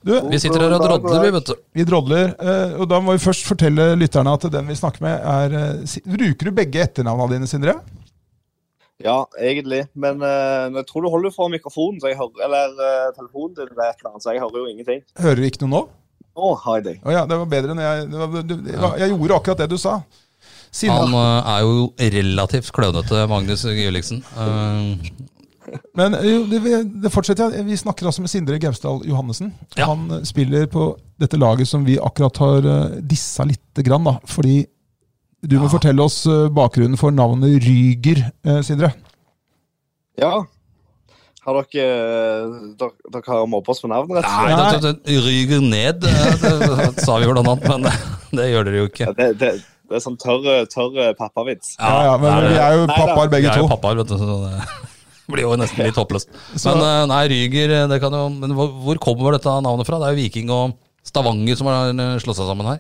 Speaker 2: Du,
Speaker 1: Vi sitter her og drodler, vi, vet du.
Speaker 2: vi drodler. eh, Og da må vi først fortelle lytterne at den vi snakker med, er eh, Si- Bruker du begge etternavnene dine, Sindre?
Speaker 4: Ja, egentlig. Men eh, jeg tror du holder for mikrofonen, så jeg hører, eller eh, telefonen din, eller et eller annet, så jeg hører jo ingenting.
Speaker 2: Hører du ikke noe nå?
Speaker 4: Å, har jeg deg.
Speaker 2: Å ja, det var bedre enn jeg det var, du, det var, Jeg gjorde akkurat det du sa.
Speaker 1: Han
Speaker 2: Sindre.
Speaker 1: eh, er jo relativt klønete, Magnus Gulliksen. Eh,
Speaker 2: Men eh, jo, det, vi- det fortsetter jeg. Vi snakker altså med Sindre Gausdal Johannessen.
Speaker 1: Ja.
Speaker 2: Han eh, spiller på dette laget som vi akkurat har eh, dissa lite grann, da. Fordi du må
Speaker 1: Ja.
Speaker 2: fortelle oss eh, bakgrunnen for navnet Ryger, eh, Sindre.
Speaker 4: Ja. Har dere, eh, dere, dere har mobba oss med navn, rett og slett?
Speaker 1: Nei, det, det, det ryger ned, eh, det, det sa vi blant annet, men eh, det gjør dere jo ikke.
Speaker 4: Ja, Det, det, det er sånn tørr tørr pappavits.
Speaker 2: Ja, ja, men vi er jo
Speaker 4: Nei da,
Speaker 2: pappaer begge
Speaker 1: jeg er jo
Speaker 2: to.
Speaker 1: pappaer, vet du, så det *laughs* blir jo nesten litt håpløst.
Speaker 2: Så-
Speaker 1: Men eh, nei, Ryger, eh, det kan jo Men hvor, hvor kommer dette navnet fra? Det er jo Viking og Stavanger som har eh, slått seg sammen her.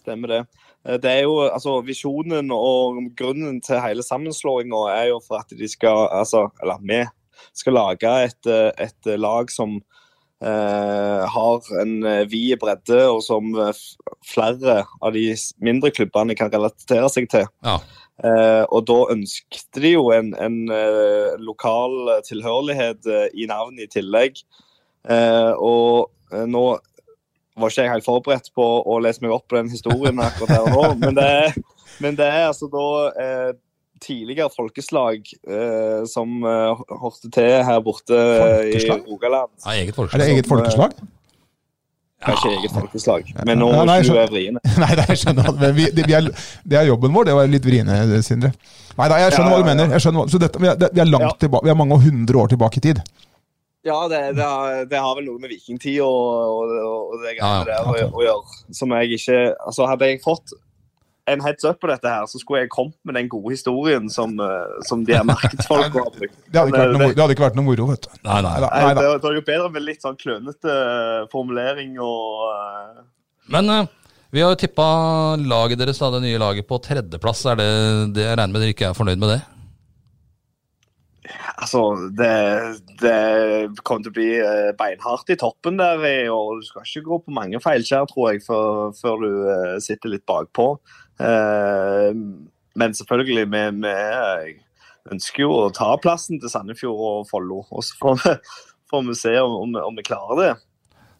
Speaker 4: Stemmer det. Eh, Det er jo, altså, Visjonen og grunnen til hele sammenslåinga er jo for at de skal, altså, eller vi skal lage et, eh, et lag som eh, har en eh, vid bredde, og som eh, f- flere av de s- mindre klubbene kan relatere seg til.
Speaker 1: Ja.
Speaker 4: Eh, og da ønsket de jo en, en eh, lokal eh, tilhørighet eh, i navnet i tillegg. Eh, og eh, nå var ikke jeg helt forberedt på å lese meg opp på den historien akkurat her og nå, men det, er- men det er altså da eh, tidligere folkeslag eh, som eh, hørte til her borte eh, i
Speaker 2: Folkeslag?
Speaker 4: Rogaland.
Speaker 1: Ja, eget
Speaker 2: Er
Speaker 1: folkeslag.
Speaker 2: det eget folkeslag?
Speaker 4: Kanskje eget folkeslag, men nå
Speaker 2: Ja, nei,
Speaker 4: er
Speaker 2: jeg
Speaker 4: du
Speaker 2: skjønner.
Speaker 4: vriene.
Speaker 2: *laughs* Nei, nei, jeg skjønner at- men vi, det, vi er, det er jobben vår, det å være litt vriene, Sindre. Nei, nei, jeg skjønner
Speaker 4: Ja,
Speaker 2: hva du
Speaker 4: ja, ja.
Speaker 2: mener. Jeg skjønner hva, så dette, vi, er, det- vi, er langt
Speaker 4: Ja.
Speaker 2: tilbake, vi er mange hundre år tilbake i tid.
Speaker 4: Ja, det, det, har, det har vel noe med vikingtid og, og, og det
Speaker 1: Ja,
Speaker 4: greiene der å, å gjøre. Som jeg ikke Altså, hadde jeg fått en heads up på dette her, så skulle jeg kommet med den gode historien som, eh, som de her markedsfolka har
Speaker 2: *laughs*
Speaker 4: brukt.
Speaker 2: Det hadde ikke vært noe,
Speaker 4: Men,
Speaker 2: moro- det hadde ikke vært noe moro, vet du.
Speaker 1: Nei, nei.
Speaker 2: Neida,
Speaker 4: Nei,
Speaker 2: neida.
Speaker 4: det, det er jo bedre med litt sånn klønete eh, formulering og eh,
Speaker 1: Men eh, vi har jo tippa laget deres, da, det nye laget, på tredjeplass. Er det, det jeg regner med dere ikke er fornøyd med det?
Speaker 4: Altså, det, det kommer til å bli eh, beinhardt i toppen der, eh, og du skal ikke gå på mange feilskjær, tror jeg, før, før du eh, sitter litt bakpå. Eh, Men selvfølgelig, vi, vi ønsker jo å ta plassen til Sandefjord og Follo, og så får vi, *laughs* får vi se om, om, om vi klarer det.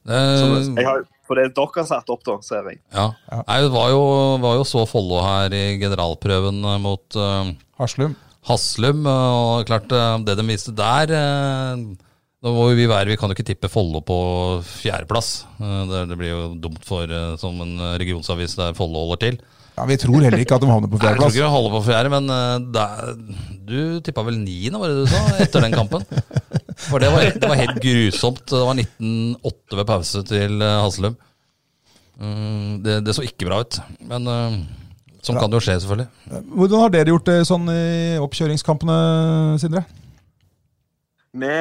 Speaker 4: Så
Speaker 1: Eh,
Speaker 4: jeg har, for det er dere har satt opp, da, ser jeg.
Speaker 1: ja.
Speaker 2: Ja.
Speaker 1: Nei, det var jo, var jo så Follo her i generalprøven eh, mot eh,
Speaker 2: Haslum.
Speaker 1: Haslum. eh, Og klart, eh, det de viste der eh, Da må jo vi være, vi kan jo ikke tippe Follo på fjerdeplass. Eh, Det, det blir jo dumt for eh, som en regionsavis der Follo holder til.
Speaker 2: Ja, Vi tror heller ikke at de havner
Speaker 1: Nei, jeg
Speaker 2: på
Speaker 1: tror
Speaker 2: fjerdeplass.
Speaker 1: ikke vi holder på fjerde, men eh, det er- du tippa vel niende, var det du sa, etter den kampen? For det var, det var helt grusomt. Det var 19-8 ved pause til eh, Haslum. Mm, Det, det så ikke bra ut, men eh, sånn kan det jo skje, selvfølgelig.
Speaker 2: Hvordan har dere gjort det sånn i oppkjøringskampene, Sindre?
Speaker 4: Vi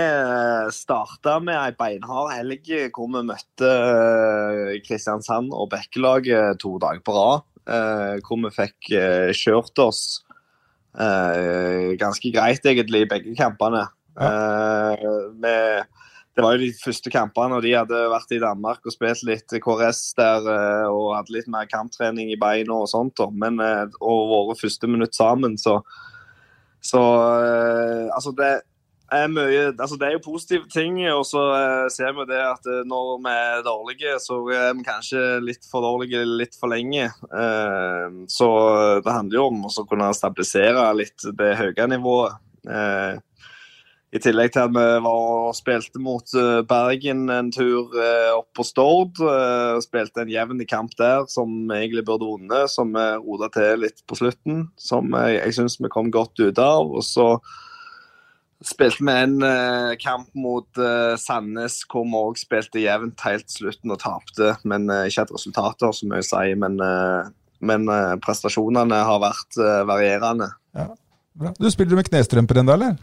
Speaker 4: starta med ei beinhard helg hvor vi møtte eh, Kristiansand og Bekkelaget to dager på rad. eh, Hvor vi fikk eh, kjørt oss eh, ganske greit, egentlig, i begge kampene. Eh, vi- Det var jo de første kampene, og de hadde vært i Danmark og spilt litt KRS der eh, og hadde litt mer kamptrening i beina og sånt. da. Men eh, og våre første minutt sammen, så Så eh, altså, det er mye, altså det er jo positive ting, og så eh, ser vi det at eh, når vi er dårlige, så er vi kanskje litt for dårlige litt for lenge. Eh, så det handler jo om å kunne stabilisere litt det høye nivået. Eh, I tillegg til at vi var og spilte mot eh, Bergen en tur eh, opp på Stord. eh, spilte en jevn kamp der som vi egentlig burde vunnet, som vi rota til litt på slutten. Som jeg, jeg syns vi kom godt ut av. og så spilte vi en eh, kamp mot eh, Sandnes, hvor vi òg spilte jevnt helt til slutten og tapte. Men eh, ikke et resultat, har så mye å si. Men, eh, men eh, prestasjonene har vært eh, varierende.
Speaker 2: Bra. Du Spiller du med knestrømper ennå, eller?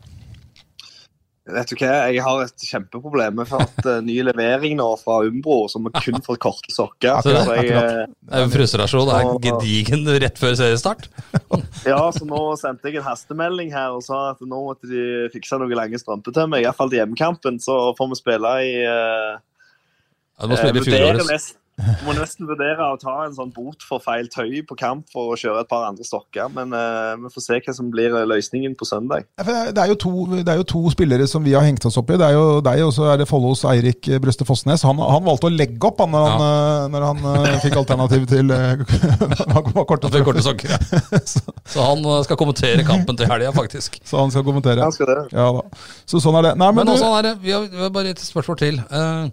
Speaker 4: Vet du hva, jeg har et kjempeproblem. Jeg har fått eh, ny levering nå fra Umbro, som har kun fått korte sokker.
Speaker 2: Akkurat,
Speaker 4: så jeg,
Speaker 2: akkurat.
Speaker 4: eh,
Speaker 1: Det er jo frustrasjon. Det er gedigen rett før seriestart.
Speaker 4: eh, ja, så nå sendte jeg en hastemelding her og sa at nå måtte de fikse noen lange strømper til meg. Iallfall til hjemmekampen, så får vi spille i eh,
Speaker 1: Ja, du må spille i
Speaker 4: Eh, vurderer
Speaker 1: fjorårets.
Speaker 4: nest- Må nesten vurdere å ta en sånn bot for feil tøy på kamp for å kjøre et par andre stokker. Men eh, vi får se hva som blir eh, løsningen på søndag.
Speaker 2: Ja, for Det er, jo to, det er jo to spillere som vi har hengt oss opp i. Det er jo deg, og så er det Follos Eirik eh, Brøste Fossnes. Han, han valgte å legge opp han, når han, eh, når han eh, fikk alternativ til eh, *laughs* han var kort
Speaker 1: Han
Speaker 2: og
Speaker 1: fikk
Speaker 2: trøff,
Speaker 1: korte
Speaker 4: *laughs*
Speaker 1: sokker. ja. Så han eh, skal kommentere kampen til helga, faktisk.
Speaker 2: så han skal kommentere.
Speaker 4: Ja, skal det.
Speaker 2: Ja da. Så sånn er det. Nei, men,
Speaker 1: Men
Speaker 2: du-
Speaker 1: også, han er, vi har vi har bare et spørsmål til. Eh,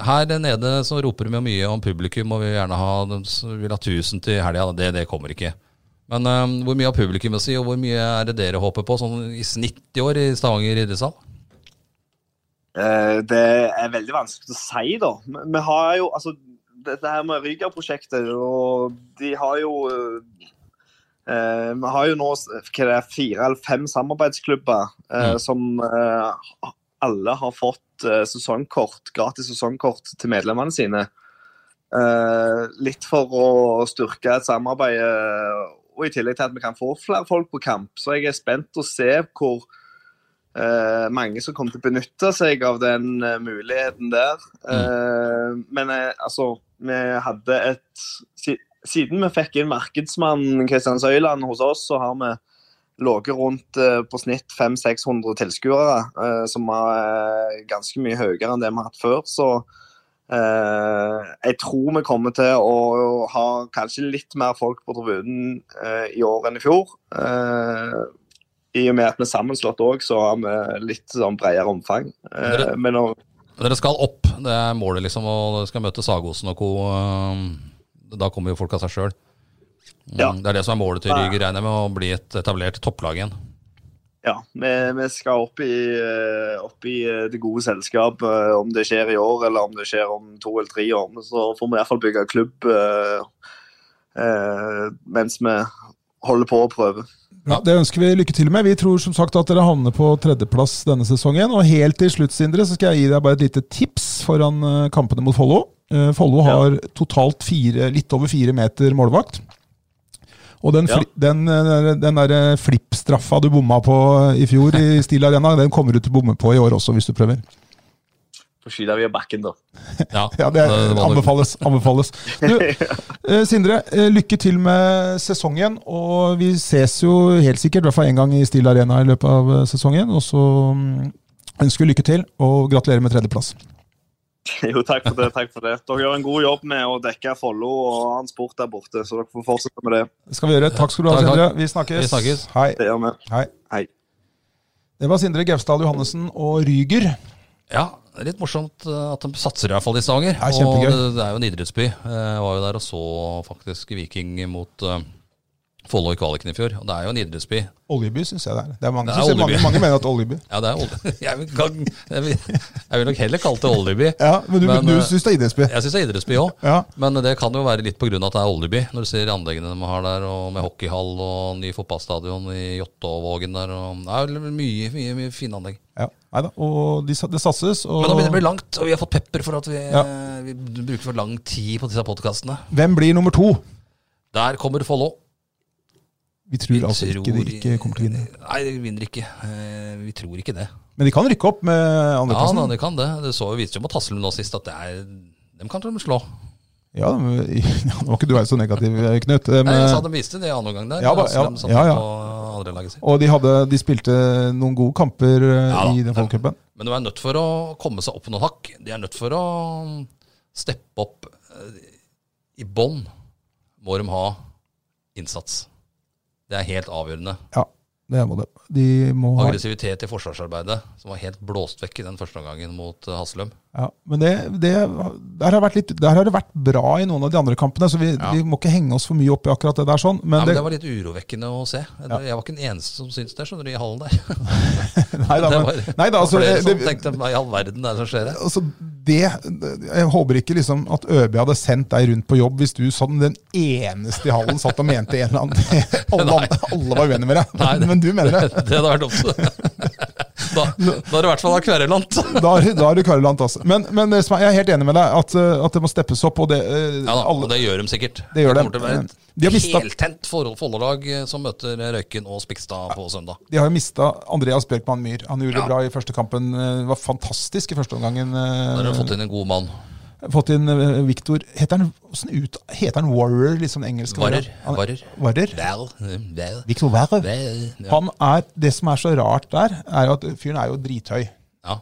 Speaker 1: Her nede så roper de jo mye om publikum, og vi vil gjerne ha, de s- vil ha 1000 til helga. Det, det kommer ikke. Men eh, hvor mye har publikummet si, og hvor mye er det dere håper på, sånn i snitt i år i Stavanger idrettshall?
Speaker 4: Eh, det er veldig vanskelig å si, da. Men Vi har jo altså Dette her med Ryga-prosjektet, og de har jo eh, Vi har jo nå s- hva det er, fire eller fem samarbeidsklubber eh,
Speaker 1: Mm.
Speaker 4: som eh, alle har fått eh, sesongkort, gratis sesongkort til medlemmene sine. Eh, litt for å styrke et samarbeid, eh, og i tillegg til at vi kan få flere folk på kamp. Så jeg er spent å se hvor eh, mange som kommer til å benytte seg av den eh, muligheten der. Eh, men eh, altså, vi hadde et si- Siden vi fikk inn markedsmannen Kristian Søyland hos oss, så har vi ligget rundt eh, på snitt 500-600 tilskuere, eh, som er eh, ganske mye høyere enn det vi har hatt før. så Eh, jeg tror vi kommer til å ha kanskje litt mer folk på tribunen eh, i år enn i fjor. Eh, I og med at vi er sammenslått òg, så har vi litt sånn bredere omfang. Eh,
Speaker 1: Dere-
Speaker 4: men om,
Speaker 1: Dere skal opp, det er målet, liksom. Og dere skal møte Sagosen og co. eh, Da kommer jo folk av seg sjøl.
Speaker 4: Ja.
Speaker 1: Det er det som er målet til Ryger, regner jeg med, å bli et etablert topplag
Speaker 2: *laughs*
Speaker 1: igjen.
Speaker 4: ja, vi, vi skal opp i, eh, opp i eh, det gode selskap. eh, om det skjer i år eller om det skjer om to eller tre år, men så får vi i hvert fall bygge klubb eh, eh, mens vi holder på å prøve.
Speaker 2: Ja, Det ønsker vi lykke til med. Vi tror som sagt at dere havner på tredjeplass denne sesongen. Og helt til slutt, Sindre, så skal jeg gi deg bare et lite tips foran eh, kampene mot Follo. Eh, Follo har totalt fire, litt over fire meter målvakt. Og den,
Speaker 4: Ja.
Speaker 2: fli, den, eh, den der flippstraffa du bomma på eh, i fjor i Steel Arena, den kommer du til å bomme på i år også, hvis du prøver.
Speaker 4: Får skyte via bakken, da.
Speaker 1: Ja,
Speaker 2: Ja, det
Speaker 1: det var det.
Speaker 2: anbefales. anbefales.
Speaker 1: *laughs*
Speaker 2: Du, eh, Sindre, eh, lykke til med sesongen. Og vi ses jo helt sikkert, i hvert fall én gang i Steel Arena i løpet av eh, sesongen. Og så mm, ønsker vi lykke til, og gratulerer med tredjeplass.
Speaker 4: *laughs* Jo, takk for det. takk for det. Dere gjør en god jobb med å dekke Follo og annen sport der borte, så dere får fortsette med det.
Speaker 2: Det skal vi gjøre. Takk skal du ha,
Speaker 1: Takk,
Speaker 2: Sindre.
Speaker 1: takk.
Speaker 2: Vi snakkes.
Speaker 1: Vi snakkes.
Speaker 2: Hei.
Speaker 4: Det gjør vi.
Speaker 2: Hei.
Speaker 4: Hei.
Speaker 2: Det var Sindre Gausdal Johannessen og Ryger.
Speaker 1: Ja, det er litt morsomt eh, at de satser i hvert fall i Stavanger.
Speaker 2: Ja,
Speaker 1: og
Speaker 2: kjempegøy.
Speaker 1: det, det er jo en idrettsby. Eh, Jeg var jo der og så faktisk Viking mot eh, Follo i kvaliken i fjor. Og det er jo en idrettsby.
Speaker 2: Oljeby syns jeg det er. Det er mange,
Speaker 1: Det er
Speaker 2: som sier- mange,
Speaker 1: oljeby.
Speaker 2: mange mener at
Speaker 1: *laughs*
Speaker 2: Oljeby.
Speaker 1: Ja, det er olje. Jeg vil, gang- jeg vil, jeg vil nok heller kalle det oljeby.
Speaker 2: Ja, Men du,
Speaker 1: Men,
Speaker 2: du
Speaker 1: eh,
Speaker 2: syns det er idrettsby?
Speaker 1: Jeg syns det er idrettsby òg.
Speaker 2: Ja.
Speaker 1: Men det kan jo være litt pga. at det er oljeby, når du ser anleggene de har der, og med hockeyhall og ny fotballstadion i Jåttåvågen der. Og det er vel mye, mye, mye fine anlegg.
Speaker 2: ja. Nei da. Og de, sa- det satses. Og
Speaker 1: Men nå begynner det å bli langt, og vi har fått pepper for at vi,
Speaker 2: Ja.
Speaker 1: vi bruker for lang tid på disse podkastene.
Speaker 2: hvem blir nummer to?
Speaker 1: Der kommer Follo.
Speaker 2: Vi
Speaker 1: Vi
Speaker 2: tror altså ikke de ikke kommer til å vinne.
Speaker 1: Nei, de vinner ikke. Eh, Vi tror ikke det.
Speaker 2: Men de kan rykke opp med
Speaker 1: Ja, da,
Speaker 2: andreplassen.
Speaker 1: de kan det. Det så jo viste jo mot Haslum nå sist at det er dem kan de slå.
Speaker 2: Ja, men- *laughs* ja, nå var ikke du her så negativ, Knut. eh,
Speaker 1: Nei, jeg sa de
Speaker 2: Men,
Speaker 1: viste det i annen omgang der.
Speaker 2: Ja, da,
Speaker 1: Haslum
Speaker 2: ja,
Speaker 1: satt
Speaker 2: ja, ja.
Speaker 1: på andre laget sitt.
Speaker 2: og de, hadde, de spilte noen gode kamper eh,
Speaker 1: Ja da.
Speaker 2: i den folkecupen.
Speaker 1: Men de er nødt for å komme seg opp noen hakk. De er nødt for å steppe opp. eh, I bånn må de ha innsats. Det er helt avgjørende.
Speaker 2: Ja, det må de. De må ha
Speaker 1: Aggressivitet i forsvarsarbeidet, som var helt blåst vekk i den første omgangen mot eh, Haslum.
Speaker 2: Ja, men det, det, der, har det vært litt, der har det vært bra i noen av de andre kampene, så vi,
Speaker 1: Ja.
Speaker 2: vi må ikke henge oss for mye opp i akkurat det der. sånn.
Speaker 1: Nei,
Speaker 2: Men,
Speaker 1: men
Speaker 2: det,
Speaker 1: det var litt urovekkende å se. Jeg, jeg var ikke den eneste som syntes det, skjønner du, i hallen der.
Speaker 2: *laughs* nei,
Speaker 1: *laughs*
Speaker 2: da,
Speaker 1: det
Speaker 2: men,
Speaker 1: var,
Speaker 2: nei, da, altså,
Speaker 1: flere som
Speaker 2: det,
Speaker 1: tenkte hva i all verden er det som skjer her? *laughs*
Speaker 2: altså det, Jeg håper ikke liksom at Øby hadde sendt deg rundt på jobb hvis du som den eneste i hallen satt og mente en eller
Speaker 1: *laughs*
Speaker 2: annen *laughs* Alle,
Speaker 1: Nei.
Speaker 2: andre- alle var uenige med deg,
Speaker 1: Nei, det-
Speaker 2: men du mener det.
Speaker 1: Det hadde vært dumt. *laughs* Da, da er det i hvert fall av kverulant. *laughs*
Speaker 2: Da er da er du kverulant, altså. Men, men det som er- jeg er helt enig med deg at, eh, at det må steppes opp. og det... eh,
Speaker 1: Ja da, og
Speaker 2: alle,
Speaker 1: det gjør de sikkert.
Speaker 2: Det gjør de.
Speaker 1: kommer til å være et
Speaker 2: De har mistet-
Speaker 1: heltent forhold- Follo-lag eh, som møter Røyken og Spikstad på søndag.
Speaker 2: De har jo mista Andreas Bjørkman Myhr. Han gjorde
Speaker 1: Ja.
Speaker 2: det bra i første kampen. eh, Var fantastisk i første omgangen.
Speaker 1: Da har de
Speaker 2: eh,
Speaker 1: fått inn en god mann.
Speaker 2: Fått inn eh, Victor Heter han, hvordan ut, heter han Warrer, liksom den engelske?
Speaker 1: Warrer.
Speaker 2: Han-
Speaker 1: Warrer.
Speaker 2: Warrer?
Speaker 1: Vel, vel,
Speaker 2: Victor Warrer.
Speaker 1: vel. Ja.
Speaker 2: Han er, det som er så rart der, er jo at fyren er jo drithøy.
Speaker 1: Ja.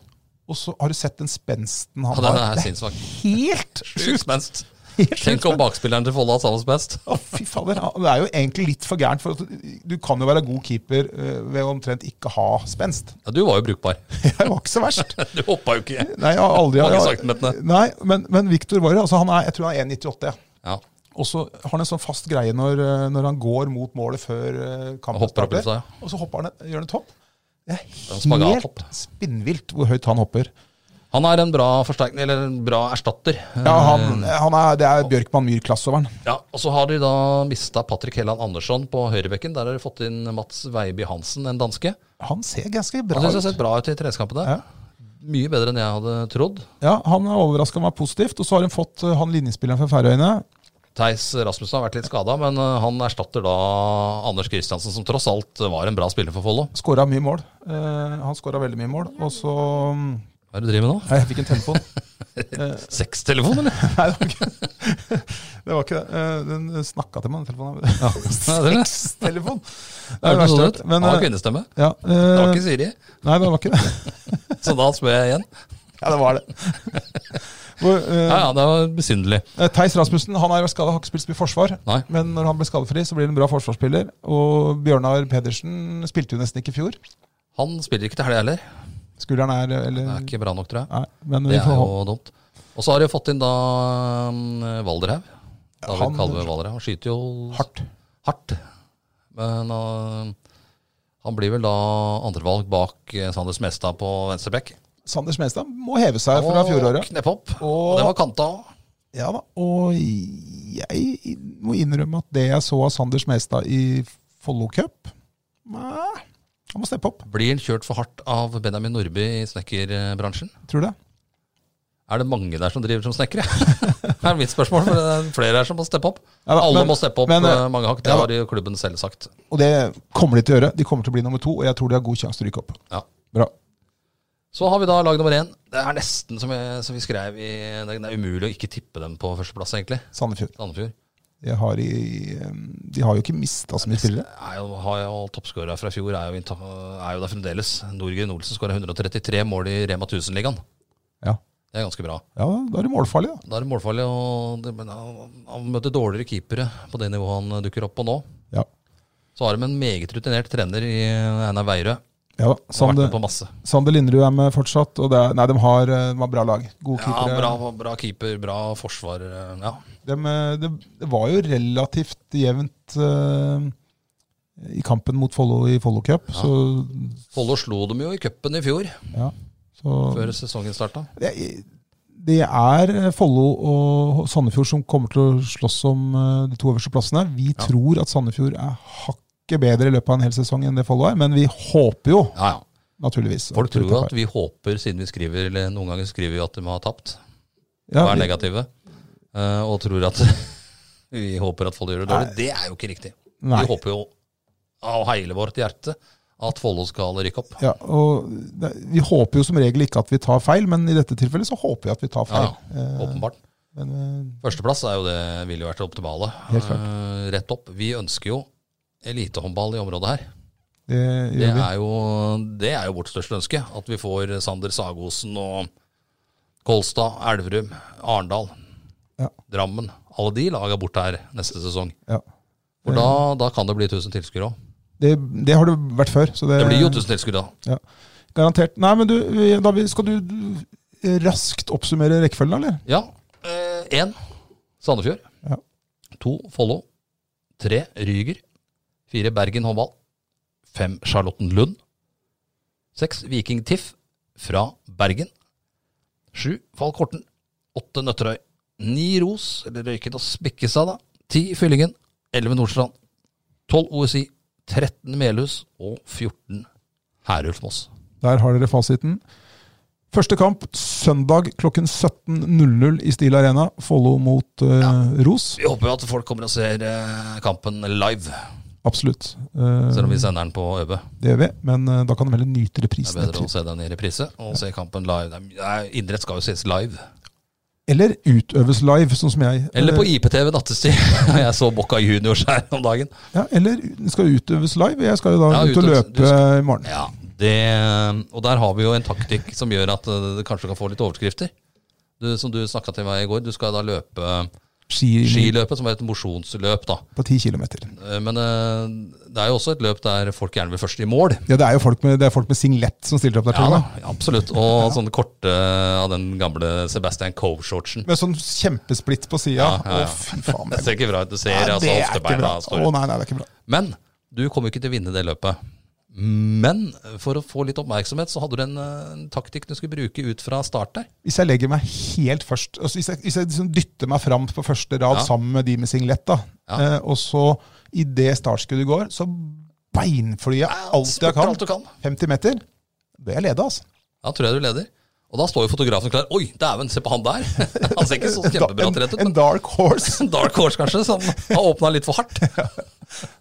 Speaker 2: Og så har du sett den spensten han
Speaker 1: Ja, den
Speaker 2: har.
Speaker 1: er
Speaker 2: Det er
Speaker 1: sinnssvak.
Speaker 2: helt
Speaker 1: *laughs* Sjukt spenst.
Speaker 2: *laughs* Helt
Speaker 1: Tenk om bakspilleren til Follo har samme spenst.
Speaker 2: Å, fy fader. Det er jo egentlig litt for gærent. For at du kan jo være god keeper eh, ved å omtrent ikke ha spenst. *laughs*
Speaker 1: Ja, du var jo brukbar. *laughs*
Speaker 2: Det var ikke så verst.
Speaker 1: Du hoppa jo ikke.
Speaker 2: Nei, jeg har aldri
Speaker 1: Mange
Speaker 2: jeg-
Speaker 1: centimeterne.
Speaker 2: Nei, men, men Victor Warrer, altså han er, jeg tror han er 1,98. ja.
Speaker 1: Ja,
Speaker 2: Og så har han en sånn fast greie når, eh, når han går mot målet før eh, kampen
Speaker 1: hopper opp i lufta, ja.
Speaker 2: Og så hopper han, gjør han et hopp. Det er
Speaker 1: en spagathopp.
Speaker 2: helt spinnvilt hvor høyt han hopper.
Speaker 1: Han er en bra forsterkning, eller en bra erstatter.
Speaker 2: Ja, han,
Speaker 1: Eh.
Speaker 2: han er, Det er Bjørkman Myhr-klasseoveren.
Speaker 1: Ja, og så har de da mista Patrick Helland Andersson på høyrebekken. Der har de fått inn Mats Veiby Hansen, en danske.
Speaker 2: Han ser ganske
Speaker 1: Han
Speaker 2: bra
Speaker 1: synes jeg har
Speaker 2: ut.
Speaker 1: sett bra ut i treningskampene.
Speaker 2: Ja.
Speaker 1: Mye bedre enn jeg hadde trodd.
Speaker 2: Ja, Han har overraska meg positivt. Og så har han fått eh, han linjespilleren fra Færøyene.
Speaker 1: Theis Rasmussen har vært litt skada, men eh, han erstatter da Anders Kristiansen, som tross alt var en bra spiller for Follo.
Speaker 2: Skåra mye mål. Eh, han skåra veldig mye mål. Og så mm,
Speaker 1: Hva er det du driver med nå?
Speaker 2: Nei, jeg fikk
Speaker 1: *laughs*
Speaker 2: en telefon.
Speaker 1: Sextelefon, eller?
Speaker 2: Nei, det var ikke *laughs* det. Var ikke det. Eh, den snakka til meg, den telefonen.
Speaker 1: *laughs* Ja, det *laughs* er det.
Speaker 2: Sextelefon! Det
Speaker 1: Det
Speaker 2: er det verste jeg
Speaker 1: sånn ut.
Speaker 2: har hørt.
Speaker 1: Han
Speaker 2: Men,
Speaker 1: har
Speaker 2: eh,
Speaker 1: kvinnestemme.
Speaker 2: *laughs* ja,
Speaker 1: Det var
Speaker 2: eh,
Speaker 1: ikke Siri,
Speaker 2: Nei, det var ikke det.
Speaker 1: så da spør jeg igjen.
Speaker 2: *laughs* Ja, det var det. Hvor, eh,
Speaker 1: *laughs* Ja, ja, det var besynderlig.
Speaker 2: Theis Rasmussen han er skada, har ikke spilt så mye forsvar.
Speaker 1: Nei.
Speaker 2: Men når han blir skadefri, så blir han en bra forsvarsspiller. Og Bjørnar Pedersen spilte jo nesten ikke i fjor.
Speaker 1: Han spiller ikke til helga heller.
Speaker 2: Skulderen er eller,
Speaker 1: Det er ikke bra nok, tror jeg.
Speaker 2: Nei, men vi
Speaker 1: Det er
Speaker 2: får håpe.
Speaker 1: jo dumt. Og så har de fått inn da mm, Valderhaug. David
Speaker 2: han-
Speaker 1: Kalve Valderhaug. Han skyter jo
Speaker 2: Hardt.
Speaker 1: hardt. Men øh, han blir vel da andrevalg bak eh, Sander Smestad på venstreback.
Speaker 2: Sander Smestad må heve seg fra fjoråret.
Speaker 1: kneppe opp. Og,
Speaker 2: Og-
Speaker 1: det var kanta òg.
Speaker 2: Ja da, Og jeg må innrømme at det jeg så av Sander Smestad i Follo Cup Nei, han må steppe opp.
Speaker 1: Blir han kjørt for hardt av Benjamin Nordby i snekkerbransjen?
Speaker 2: Tror du det?
Speaker 1: Er det mange der som driver som snekkere? *laughs* det er mitt spørsmål. for det er Flere her som må steppe opp.
Speaker 2: Ja da,
Speaker 1: Alle
Speaker 2: men-
Speaker 1: må steppe opp
Speaker 2: men, eh,
Speaker 1: eh, mange hakk. Det
Speaker 2: ja da.
Speaker 1: har jo klubben selv sagt.
Speaker 2: Og det kommer de til å gjøre. De kommer til å bli nummer to, og jeg tror de har god sjanse til å rykke opp.
Speaker 1: Ja.
Speaker 2: Bra.
Speaker 1: Så har vi da lag nummer én. Det er nesten som, jeg, som vi skrev i Det er umulig å ikke tippe dem på førsteplass, egentlig.
Speaker 2: Sandefjord.
Speaker 1: Sandefjord.
Speaker 2: De har, i, de har jo ikke mista så mye spillere.
Speaker 1: er jo, har jo toppskåra fra fjor, er jo, innta- er jo der fremdeles. Norgren Olsen skåra 133 mål i Rema 1000-ligaen.
Speaker 2: Ja.
Speaker 1: Det er ganske bra.
Speaker 2: ja, da er de målfarlige, da.
Speaker 1: Da er det målfarlig, og det, men han, han møter dårligere keepere på det nivået han dukker opp på nå.
Speaker 2: Ja.
Speaker 1: Så har de en meget rutinert trener i eh, Einar Veierød.
Speaker 2: Ja,
Speaker 1: Har vært
Speaker 2: Sander,
Speaker 1: med på masse.
Speaker 2: Sander Linderud er med fortsatt. Og det er, nei, de har, eh, de har bra lag. Gode
Speaker 1: Ja,
Speaker 2: keepere.
Speaker 1: bra, bra keeper, bra forsvar. eh, Ja.
Speaker 2: Dem, eh, det, det var jo relativt jevnt eh, i kampen mot Follo i Follo Cup. Så,
Speaker 1: Follo slo dem jo i cupen i fjor,
Speaker 2: ja, så
Speaker 1: før sesongen starta.
Speaker 2: det, det er Follo og Sandefjord som kommer til å slåss om eh, de to øverste plassene. Vi tror at Sandefjord er hakket bedre i løpet av en hel sesong enn det Follo er, men vi håper jo
Speaker 1: Ja, ja.
Speaker 2: naturligvis.
Speaker 1: Folk tror
Speaker 2: det
Speaker 1: jo
Speaker 2: tar
Speaker 1: at vi håper, siden vi skriver eller noen ganger skriver vi at de har tapt,
Speaker 2: feil.
Speaker 1: og er
Speaker 2: ja, vi,
Speaker 1: negative, eh, og tror at *laughs* vi håper at Follo gjør det dårlig. Det er jo ikke riktig.
Speaker 2: Nei.
Speaker 1: Vi håper jo av hele vårt hjerte at Follo skal rykke opp.
Speaker 2: ja, og det, vi håper jo som regel ikke at vi tar feil, men i dette tilfellet så håper vi at vi tar
Speaker 1: Ja,
Speaker 2: feil. Eh,
Speaker 1: åpenbart.
Speaker 2: men, eh,
Speaker 1: Førsteplass er jo det ville jo vært det optimale.
Speaker 2: Helt klart.
Speaker 1: Eh, rett opp. Vi ønsker jo elitehåndball i området her.
Speaker 2: det
Speaker 1: Det
Speaker 2: gjør vi.
Speaker 1: er, jo, det er jo vårt største ønske. At vi får Sander Sagosen og Kolstad, Elverum, Arendal,
Speaker 2: Ja.
Speaker 1: Drammen. Alle de laga bort her neste sesong.
Speaker 2: Ja.
Speaker 1: For da, da kan det bli 1000 tilskuere òg.
Speaker 2: Det, det har det vært før. Så det,
Speaker 1: Det blir jo 1000 tilskuere da.
Speaker 2: Garantert. Nei, men du, vi- da vi- skal du du raskt oppsummere rekkefølgen, eller?
Speaker 1: Ja. Én Sandefjord.
Speaker 2: Ja.
Speaker 1: To Follo. Tre Ryger. Fire Bergen håndball. Fem Charlottenlund. Seks Viking Tiff fra Bergen. Sju Falk Horten. Åtte Nøtterøy. Ni Ros, eller Røyken og Spikkestad, da. Ti Fyllingen. Elleve Nordstrand. Tolv OSI. 13 Melhus. Og 14 Herulf Moss.
Speaker 2: Der har dere fasiten. Første kamp søndag klokken 17.00 i Stil Arena. Follo mot eh, Ros.
Speaker 1: Vi håper jo at folk kommer og ser eh, kampen live,
Speaker 2: Absolutt. Eh,
Speaker 1: selv om vi sender den på ØB.
Speaker 2: det gjør vi, men eh, da kan de heller
Speaker 1: Det
Speaker 2: nyte
Speaker 1: er
Speaker 2: reprisen.
Speaker 1: bedre å
Speaker 2: etter.
Speaker 1: se den i reprise og se kampen live. Nei, nei, Idrett skal jo ses live.
Speaker 2: Eller utøves live, sånn som jeg.
Speaker 1: Eller på IPTV *laughs* nattestid. Jeg så Bocca Juniors her om dagen.
Speaker 2: Ja, eller den skal utøves live. Jeg skal jo da
Speaker 1: Ja,
Speaker 2: ut og
Speaker 1: utøves-
Speaker 2: løpe
Speaker 1: du skal-
Speaker 2: i morgen.
Speaker 1: Ja, det, Og der har vi jo en taktikk som gjør at eh, det kanskje kan få litt overskrifter. Du, som du snakka til meg i går, du skal da løpe
Speaker 2: Ski,
Speaker 1: skiløpet, som er et mosjonsløp, da.
Speaker 2: på 10 km.
Speaker 1: Eh, Men eh, det er jo også et løp der folk gjerne vil først i mål.
Speaker 2: Ja, det er jo folk med, det er folk med singlet som stiller opp der.
Speaker 1: Ja
Speaker 2: tror jeg,
Speaker 1: da,
Speaker 2: da.
Speaker 1: absolutt. Og sånne korte eh, av den gamle Sebastian Cove-shortsen.
Speaker 2: Med sånn kjempesplitt på sida.
Speaker 1: ja, ja.
Speaker 2: Å, fy faen.
Speaker 1: Det
Speaker 2: Det,
Speaker 1: ser ikke bra ut. Du ser
Speaker 2: Nei,
Speaker 1: altså
Speaker 2: det er ikke
Speaker 1: hoftebeina
Speaker 2: bra.
Speaker 1: står
Speaker 2: Å,
Speaker 1: ut.
Speaker 2: nei, nei, det er ikke bra.
Speaker 1: Men du kommer jo ikke til å vinne det løpet. Men for å få litt oppmerksomhet, så hadde du en, eh, en taktikk du skulle bruke ut fra start der.
Speaker 2: Hvis jeg legger meg helt først altså Hvis jeg, hvis jeg liksom dytter meg fram på første rad
Speaker 1: Ja.
Speaker 2: sammen med de med singlet, da,
Speaker 1: Ja.
Speaker 2: eh, og så idet startskuddet går, så beinflyr jeg alt jeg
Speaker 1: Spurter
Speaker 2: kan.
Speaker 1: alt du kan.
Speaker 2: 50 meter. Det er leda, altså.
Speaker 1: Da tror jeg du leder. Og da står jo fotografen klar. Oi, dæven, se på han
Speaker 2: *laughs*
Speaker 1: der! Han ser ikke så
Speaker 2: En da-
Speaker 1: kjempebra trent ut,
Speaker 2: en, en
Speaker 1: men
Speaker 2: dark horse.
Speaker 1: en dark horse kanskje, som har åpna litt for hardt.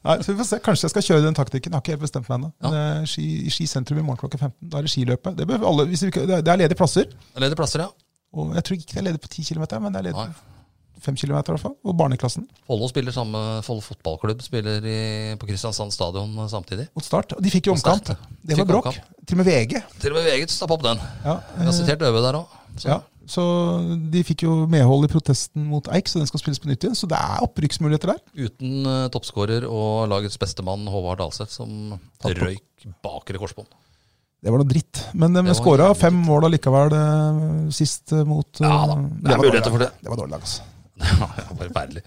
Speaker 2: Nei, så vi får se. Kanskje jeg skal kjøre den taktikken. Jeg har ikke helt bestemt meg ennå. Men, eh, Ski, i Ski sentrum i morgen klokka 15. Da er det skiløpet. Det, bør alle, hvis vi, ikke- det er- det er ledige plasser.
Speaker 1: Leder plasser, ja.
Speaker 2: Og jeg tror ikke det er ledig på 10 km, men det er ledig
Speaker 1: Nei.
Speaker 2: på 5 km i hvert fall. Og barneklassen
Speaker 1: Follo spiller samme Follo fotballklubb spiller i, på Kristiansand stadion samtidig.
Speaker 2: mot start. Og de fikk jo omkamp.
Speaker 1: start.
Speaker 2: Det var
Speaker 1: Fikk
Speaker 2: bråk. Til og med VG.
Speaker 1: Til og med VG stappa opp den.
Speaker 2: Ja,
Speaker 1: Vi har sitert Øve der òg.
Speaker 2: ja. Så de fikk jo medhold i protesten mot Eik, så den skal spilles på nytt igjen. Så det er opprykksmuligheter der.
Speaker 1: Uten uh, toppskårer og lagets bestemann Håvard Dalseth, som
Speaker 2: Tatt på.
Speaker 1: røyk bakre *laughs* korsbånd.
Speaker 2: Det var noe dritt. Men de
Speaker 1: var
Speaker 2: skåra
Speaker 1: jævlig
Speaker 2: fem mål allikevel eh, sist eh, mot eh,
Speaker 1: Ja da, det er
Speaker 2: var
Speaker 1: muligheter
Speaker 2: dårlig
Speaker 1: for
Speaker 2: lag.
Speaker 1: det.
Speaker 2: Det var dårlig lag, altså.
Speaker 1: Forferdelig.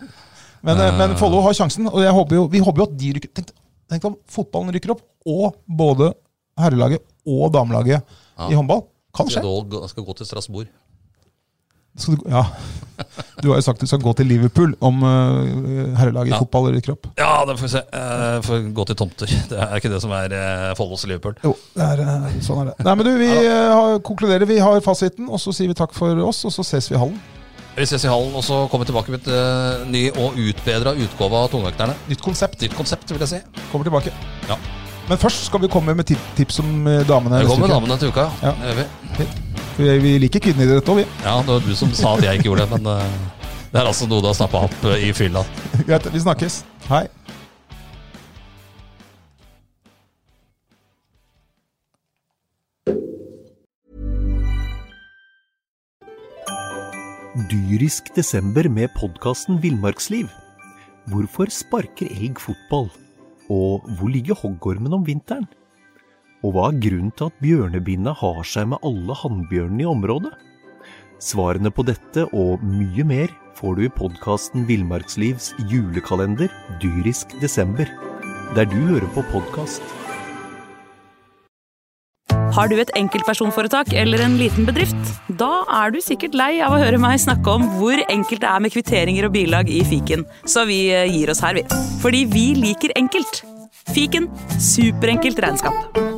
Speaker 2: Men, eh, men Follo har sjansen, og jeg håper jo, vi håper jo at de rykker Tenk, tenk om fotballen rykker opp, og både herrelaget og damelaget i håndball. Kan skje.
Speaker 1: Skal, gå- skal gå til Strasbourg.
Speaker 2: Skal du, ja. du har jo sagt du skal gå til Liverpool om eh, herrelaget i
Speaker 1: Ja.
Speaker 2: fotball rykker opp.
Speaker 1: Ja, det får vi se. Eh, får gå til tomter. Det er ikke det som er uh, Follos Liverpool.
Speaker 2: Jo, det er, eh, sånn er det. Nei, men du, Vi eh, har, konkluderer. Vi har fasiten, og så sier vi takk for oss, og så ses vi i hallen.
Speaker 1: Vi ses i hallen, og så kommer vi tilbake med et eh, ny og utbedra utgave av Tungvekterne.
Speaker 2: Nytt konsept
Speaker 1: Nytt konsept, vil jeg si.
Speaker 2: kommer tilbake.
Speaker 1: Ja.
Speaker 2: Men først skal vi komme med tip tips om eh, damene. neste
Speaker 1: Velkommen
Speaker 2: uke.
Speaker 1: damene til uka.
Speaker 2: Ja.
Speaker 1: Det gjør vi.
Speaker 2: For jeg- Vi liker kvinneidrett òg, vi. *laughs*
Speaker 1: Ja, det var du som sa at jeg ikke gjorde det, men eh, det er altså noe du har snappa opp eh, i fylla.
Speaker 2: Greit, vi snakkes. Hei.
Speaker 3: Dyrisk desember med podkasten Villmarksliv. Hvorfor sparker elg fotball? Og hvor ligger hoggormen om vinteren? Og hva er grunnen til at bjørnebinna har seg med alle hannbjørnene i området? Svarene på dette og mye mer får du i podkasten Villmarkslivs julekalender dyrisk desember, der du hører på podkast.
Speaker 5: Har du et enkeltpersonforetak eller en liten bedrift? Da er du sikkert lei av å høre meg snakke om hvor enkelt det er med kvitteringer og bilag i fiken, så vi eh, gir oss her, vi. Fordi vi liker enkelt. Fiken superenkelt regnskap.